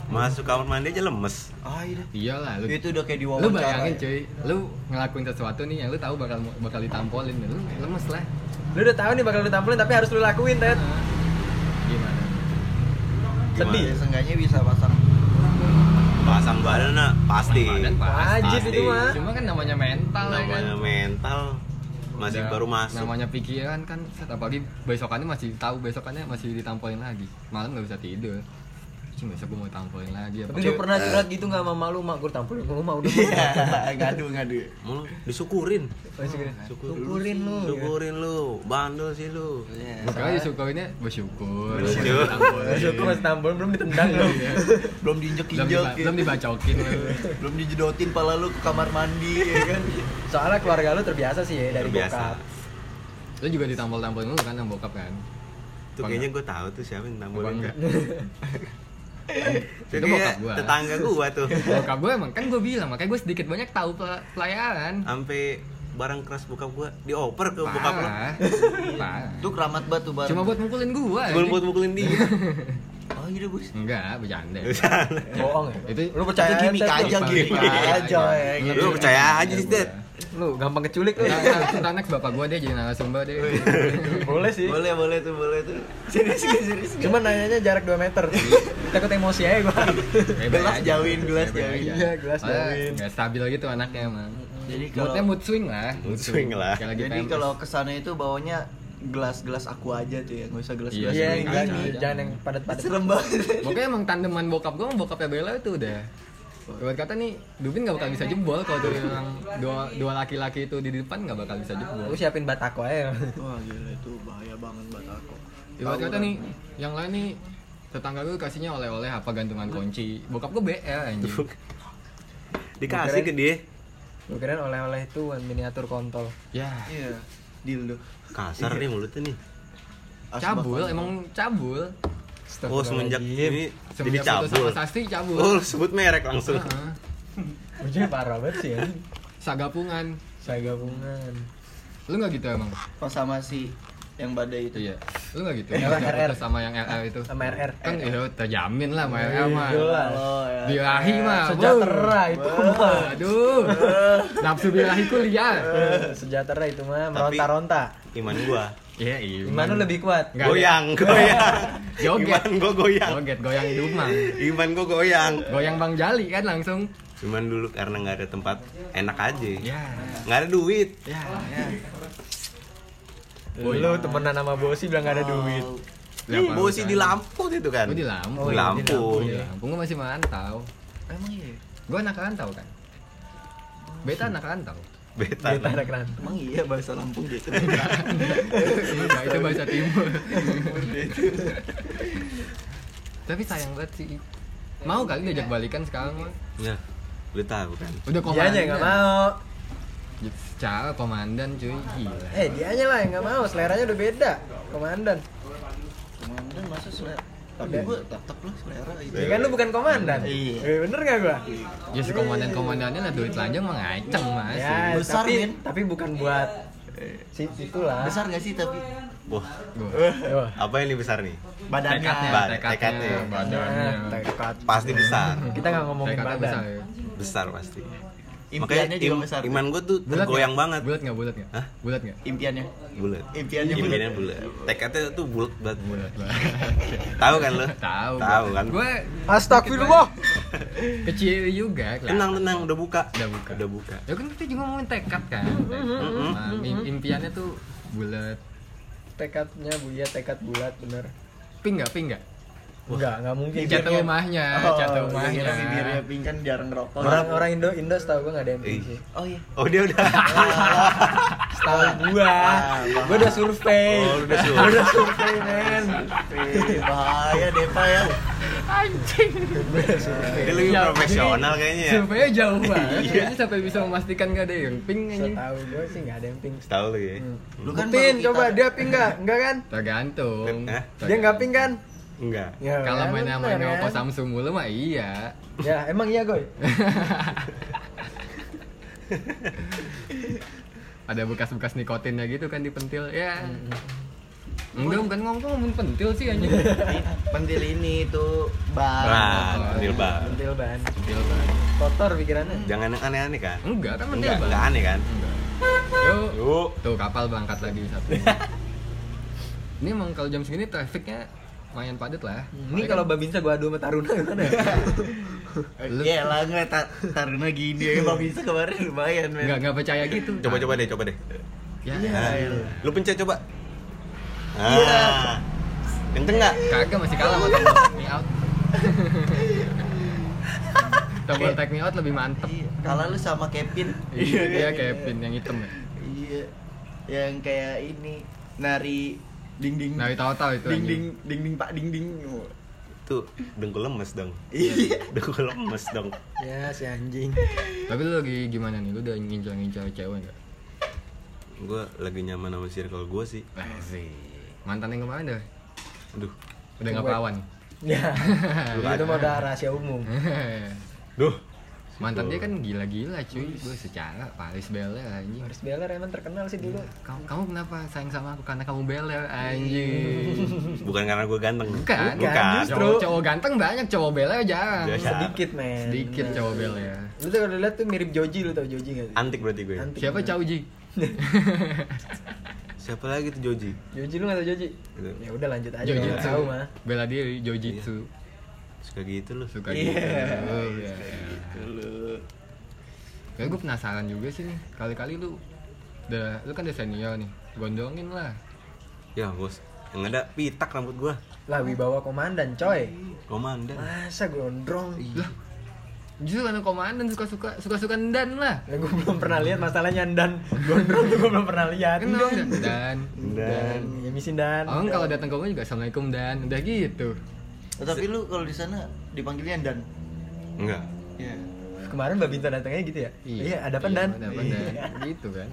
Masuk kamar mandi aja lemes. Ah, iya. Iyalah lu. Itu udah kayak Lu diwawancara. ya. bayangin cuy, lu ngelakuin sesuatu nih yang lu tahu bakal bakal ditampolin dan lu lemes lah. Lu udah tahu nih bakal lu tampilin tapi harus lu lakuin, Ted. Gimana? Iya. Sedih. Ya, seenggaknya bisa pasang. Pasang badan nah, pasti. Badan pasti. Wajib itu mah. Cuma kan namanya mental ya kan. Namanya mental masih Udah, baru masuk. Namanya pikiran kan set apalagi besokannya masih tahu besokannya masih ditampolin lagi. Malam nggak bisa tidur. Cing besok gue mau tampolin lagi apa? Tapi lu pernah curhat gitu enggak sama malu, mak gue tampilin gue mah udah. (laughs) ngadu ngadu. Mulu disyukurin. (laughs) Masih gini. Syukurin. Syukurin Iya. lu. Syukurin lu, bandel sih lu. Iya. Makanya syukurinnya bersyukur. Bersyukur. (laughs) Ditampolin. Syukur mas tampilin belum ditendang lu. Belum diinjek Belum, injek. diba- belum dibacokin lu. belum dijedotin pala lu ke kamar mandi ya kan. (laughs) Soalnya keluarga lu terbiasa sih ya dari Terbiasa. bokap. Lu juga ditampol-tampolin lu kan sama bokap kan? Tuh kayaknya gue tahu tuh siapa yang Apa nambahin. enggak? Itu Itu bokap kayak gua. tetangga gua tuh. Bokap gue emang kan gue bilang makanya gue sedikit banyak tahu pel- pelayaran. Sampai barang keras bokap gua dioper ke bokap lu. Parah. Parah. Itu keramat batu bar. Cuma buat mukulin gua. Sebelum anjing. buat mukulin (laughs) dia. Oh iya bos. Enggak, (laughs) bercanda. Bohong ya. Itu Lu percaya Itu gimmick Ted, lu? aja, gimmick aja, ya. Lu percaya aja sih, Dad. Lu gampang keculik Iya, lu. Tentang Nah, next bapak gua dia jadi narasumber deh. Boleh sih. (laughs) Boleh boleh tuh boleh tuh. Serius serius, serius. Cuman nanyanya jarak 2 meter. Takut emosi aja gua. Gelas jauhin, gelas jauhin. Iya, gelas jauhin. Gak stabil gitu anaknya emang. Jadi Moodnya kalau mood swing lah. Mood swing lah. Kayak lagi jadi PMS. kalau kesana itu bawanya gelas-gelas aku aja tuh ya, nggak usah gelas-gelas. Iya, Iya, yang milik gelas. aja. gini, jangan yang padat-padat. (laughs) Serem banget. Pokoknya emang tandeman bokap gua sama bokapnya Bella itu udah Buat kata nih, Dubin gak bakal bisa jebol kalau dari orang dua, dua laki-laki itu di depan gak bakal bisa jebol. Lu siapin batako (laughs) aja. Wah gila itu bahaya banget buat aku. Ibarat kata nih, yang lain nih tetangga gue kasihnya oleh-oleh apa gantungan kunci. Bokap gue BL anjing. Dikasih ke dia. Lu kirain oleh-oleh itu miniatur kontol. Ya, Iya. Dildo. Kasar nih mulutnya nih. cabul emang cabul. Oh, semenjak ini jadi Semenjak foto cabul. sama Sasti cabul. Oh, sebut merek langsung. Heeh. Ujungnya parah banget sih ya. Sagapungan. Saya gabungan. Lu nggak gitu emang? Pas sama si yang badai itu. Iya. Lu nggak gitu? Yang Yang RR. foto sama yang LL itu. Sama RR. Kan ya terjamin lah sama LL mah. Jelas. Oh ya. Birahi mah. iya. Sejahtera itu mah. Wow. Aduh. Nafsu birahi kuliah. Sejahtera itu mah Tapi- meronta-ronta. Iman gua. Iya, iya. Iman lu lebih kuat. Nggak ada. Goyang, (laughs) goyang. Joget. Iman gua goyang. Joget goyang di rumah. Iman gua goyang. Goyang Bang Jali kan langsung. Cuman dulu karena nggak ada Iya. tempat enak aja. Ya. Nggak ada duit. Ya. Lu temenan sama Bosi bilang gak ada duit. Siapa Ih, Bosi bukan? di Lampung itu kan. Gue Iya, Oh, di Lampung. Di iya. Lampung. Di Lampung gue masih mantau. Emang ya? iya. Gue anak rantau kan. Beta anak rantau. Beta. Dia kan? tak ada keran. Emang iya bahasa Lampung (laughs) gitu. Enggak, Iya, itu bahasa timur. Tapi sayang banget sih. Mau kali diajak balikan sekarang mah. Ya. Beta bukan. Udah Dia komandan. aja Iya, nggak kan? mau. Ya, Secara komandan cuy gila. Eh, dianya lah yang nggak mau, seleranya udah beda. Komandan. Komandan masa selera? Iya. Tapi Udah. gue tetep lah selera gitu. itu. Ya kan lu bukan komandan. Iya. Eh, Bener nggak gua? Ya si komandan-komandannya lah duit telanjang mah ngaceng mas. Ya, Besar, tapi, Min. tapi bukan buat eh, si itulah. Besar gak sih tapi Wah, Gua- Wah, Eh, apa ini besar nih? Tekadnya, badannya? Ba- tekadnya, tekadnya. badannya. tekad. Pasti besar. Kita nggak ngomongin Tekadnya badan. besar ya. Besar pasti. Impiannya juga im- besar. Iman gue tuh Bulat nggak? goyang banget. Bulat nggak? Bulat nggak? Hah? Bulat nggak? Impiannya. Bulat. Impiannya bulat. Impiannya bulat. Tekadnya tuh bulat banget. Bulat banget. Tahu kan lo? (laughs) Tahu. Tahu kan? Gue Astagfirullah. kecil juga. kelihatan. Tenang, tenang, udah buka. Udah buka. Udah buka. Ya kan kita juga ngomongin tekad kan. Nah, im- impiannya tuh bulat. Tekadnya bu ya tekad bulat bener. Pink nggak? Pink nggak? Enggak, enggak mungkin. Jatuh rumahnya, Ah, Oh, jatuh iya. rumahnya. Iya. Karena bibirnya pink kan jarang ngerokok. Orang orang Indo Indo setahu gua nggak ada yang pink sih. Oh iya. Oh, dia udah. Setahu gua, gua udah survei. Oh, lu udah suruh. Gua (laughs) udah survei men. Wih, bahaya Depa ya. Dia lebih Iya, profesional kayaknya ya. Surveinya jauh banget. Kayaknya sampai bisa memastikan nggak ada yang pink anjing. Setahu gua sih nggak ada yang pink. Tahu lu ya. Lu kan Pin, baru coba kita- dia pink nggak? Enggak kan? Tergantung. Hah? Dia nggak pink kan? Enggak. Ya, Kalau main sama bener, Oppo kan? Samsung mulu mah iya. Ya, emang iya, Goy. Ada bekas-bekas nikotinnya gitu kan di pentil. Ya. Enggak, bukan ngomong ngomongin pentil sih anjing. Pentil ini tuh ban. Nah, pentil bang. Pentil ban. Pentil Bang. Kotor pikirannya. Jangan yang aneh-aneh kan? Enggak kan pentil Enggak, Bang. enggak aneh kan? Enggak. Yuk. Yuk. Tuh kapal berangkat lagi satu. Ini emang kalau jam segini trafiknya lumayan padat lah. ya. Ini kalau Babinsa gua adu sama Taruna gimana ya? Lu- Ya lah ngeliat ta- Taruna gini ya. Bang Isa kemarin lumayan nggak men. nggak percaya gitu. Coba-coba deh, coba deh. Ya. Nah, iya. lu pencet coba. Ah. Kenceng enggak? Kagak masih kalah sama tombol take me out. tombol take me out lebih mantep. Iya. Kalau lu sama Kevin. Iya, dia Kevin yang hitam ya. Iya. Yang kayak ini nari dinding. Nah, tahu-tahu itu. anjing. Iya, Dinding dinding Pak dinding. Tuh, dengkul lemes dong. (laughs) Iya. Dengkul lemes dong. (laughs) Ya, si anjing. Tapi lu lagi gimana nih? Lu udah ngincar-ngincar cewek enggak? Gue lagi nyaman sama circle gue sih. Masih. Mantan yang kemarin dah. Aduh. Udah nggak perawan. Ya. Lu Itu mah udah rahasia umum. (laughs) Duh. Mantan dia kan gila-gila cuy, gue secara Paris Bel anjing. Harus Beller emang terkenal sih dulu. Kamu, kamu kenapa sayang sama aku karena kamu Bel anjing? Bukan karena gue ganteng. Bukan. Bukan. Justru. Cowok, cowok ganteng banyak, cowok Bel jarang. Dia siapa? Sedikit, men. Iya. Sedikit Bener. cowok Bel Lu tuh kalau lihat tuh mirip Joji lu tau Joji gak sih? Antik berarti ya? gue. Antik. Siapa Cauji? Siapa lagi tuh Joji? Joji lu gak tau Joji? Gitu. Ya udah lanjut aja kalau nggak Jojitsu. tahu mah. Bela diri Jojitsu. Suka gitu lu. Suka Iya. gitu. Iya. Kayak gue penasaran juga sih nih. Kali-kali lu udah lu kan udah senior nih. Gondongin lah. Ya, Bos. Yang ada pitak rambut gue. Lah wibawa komandan coy. Komandan. Masa gondrong? Lah. Justru kan komandan suka-suka suka-suka dan lah. Ya gue belum pernah lihat masalahnya dan gondrong tuh gue belum pernah lihat. Kenal nggak? Dan. Dan Ya misin dan. Oh, kalau datang ke rumah juga assalamualaikum dan udah gitu. Oh, tapi lu kalau di sana dipanggilnya Dan. enggak. Iya. Kemarin Mbak Binta datangnya gitu ya? Iya, ada apa dan? Iya. Ada apa dan? Gitu kan.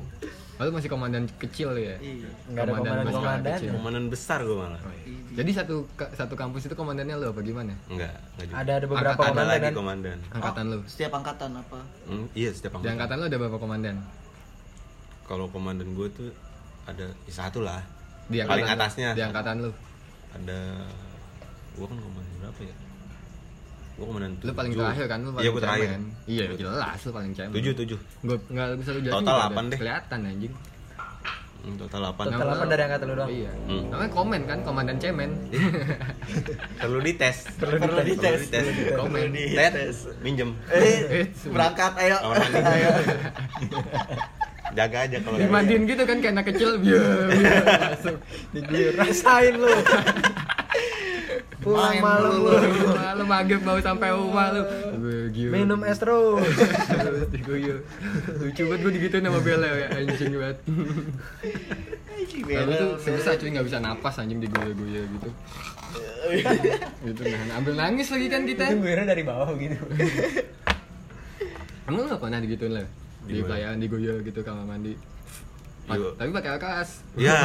Lalu masih komandan kecil ya. Iya. Nggak ada masih anak komandan-komandan. kecil. Komandan besar gue malah. Oh, iya. Jadi satu ka- satu kampus itu komandannya lo apa gimana? Enggak, enggak juga. Ada ada beberapa Angkat- Ada komandan lagi dan. komandan. Angkatan Oh. lo. Oh, Setiap angkatan apa? Hmm, iya, setiap Di angkatan. angkatan lo ada berapa komandan? Kalau komandan gue tuh ada ya satu lah. Di angkatan Paling lo. atasnya. Di angkatan lo. Ada gue kan komandan berapa ya? Gue komandan Lu paling tujuh. terakhir kan lu paling Iya, gue terakhir. cemen. Iya, jelas lu paling cemen. Tujuh, tujuh. Gua enggak bisa lu jelasin. Total nggak ada. delapan deh. Kelihatan anjing. Hmm, total 8. Total Nama- delapan dari angkatan lu doang? (laughs) Iya. Hmm. Iya. Namanya komen kan, komandan cemen. (laughs) Perlu dites. Perlu dites. Komen. Perlu dites. (laughs) Eh, Tet, minjem. Oh. Iya. Eh, berangkat ayo. Kamar mandi. Ayo. jaga aja kalau dimandiin gitu kan kayak anak kecil biar biar masuk Diguyur. Rasain (laughs) lu. pulang Main malu dulu. lu malu maghrib baru sampai rumah lu Gila. minum es terus (laughs) Terus diguyur lucu banget gue digituin sama Bella ya anjing banget Tapi tuh sebesar cuy nggak bisa napas anjing diguyur-guyur gitu gitu nah ambil nangis lagi kan kita itu gue dari bawah gitu (laughs) emang lu nggak pernah digituin lah di Gimana? pelayan diguyur gitu kamar mandi Pa- Iya. tapi pakai alkas (laughs) ya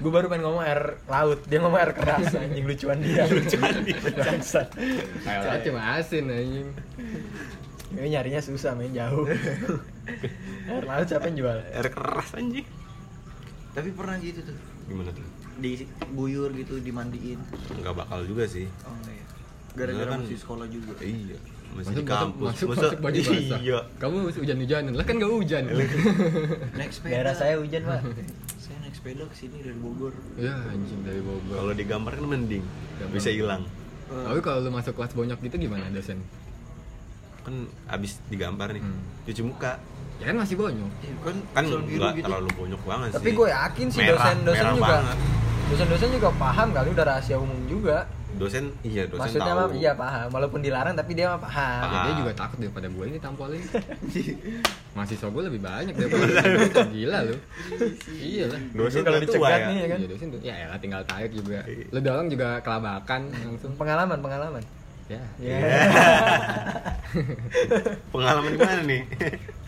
gue baru pengen ngomong air laut dia ngomong air keras anjing lucuan (laughs) dia lucuan dia Bangsat. kayak cuma asin anjing Ini nyarinya susah main (laughs) jauh air laut siapa yang jual air keras anjing Tapi pernah gitu tuh gimana tuh diguyur gitu dimandiin. nggak bakal juga sih Oh enggak ya. Gara-gara Kan- masih sekolah juga. iya masih Masuk di kampus masuk, Masa- masuk baju basah. iya Kamu hujan-hujanan. Lah kan gak hujan. (laughs) Naik sepeda. daerah saya hujan pak Iya Saya naik sepeda ke sini dari Bogor. Eh, ya anjing dari Bogor. kalau digambar kan mending Gambar. bisa hilang Tapi kalau lu masuk kelas bonyok gitu gimana dosen? kan abis digambar nih Hmm. cuci muka Ya kan masih bonyok. Iya, kan kan sol biru nggak gitu. terlalu banyak banget sih tapi gue yakin sih Merah, dosen-dosen merah juga banget. dosen-dosen juga paham kali udah rahasia umum juga dosen iya dosen maksudnya tahu mah iya paham walaupun dilarang tapi dia mah paham Ya, dia Ah. juga takut daripada gue ini tampolin. Mahasiswa gue lebih banyak daripada dosen. Gila lu. Iya lah. dosen Kalau kalau dicegat dicegat ya. nih. Iya kan? Iya dosen tuh. Ya elah tinggal tarik juga. Lu doang juga kelabakan langsung. pengalaman pengalaman Iya. Ya. ya (laughs) pengalaman di mana nih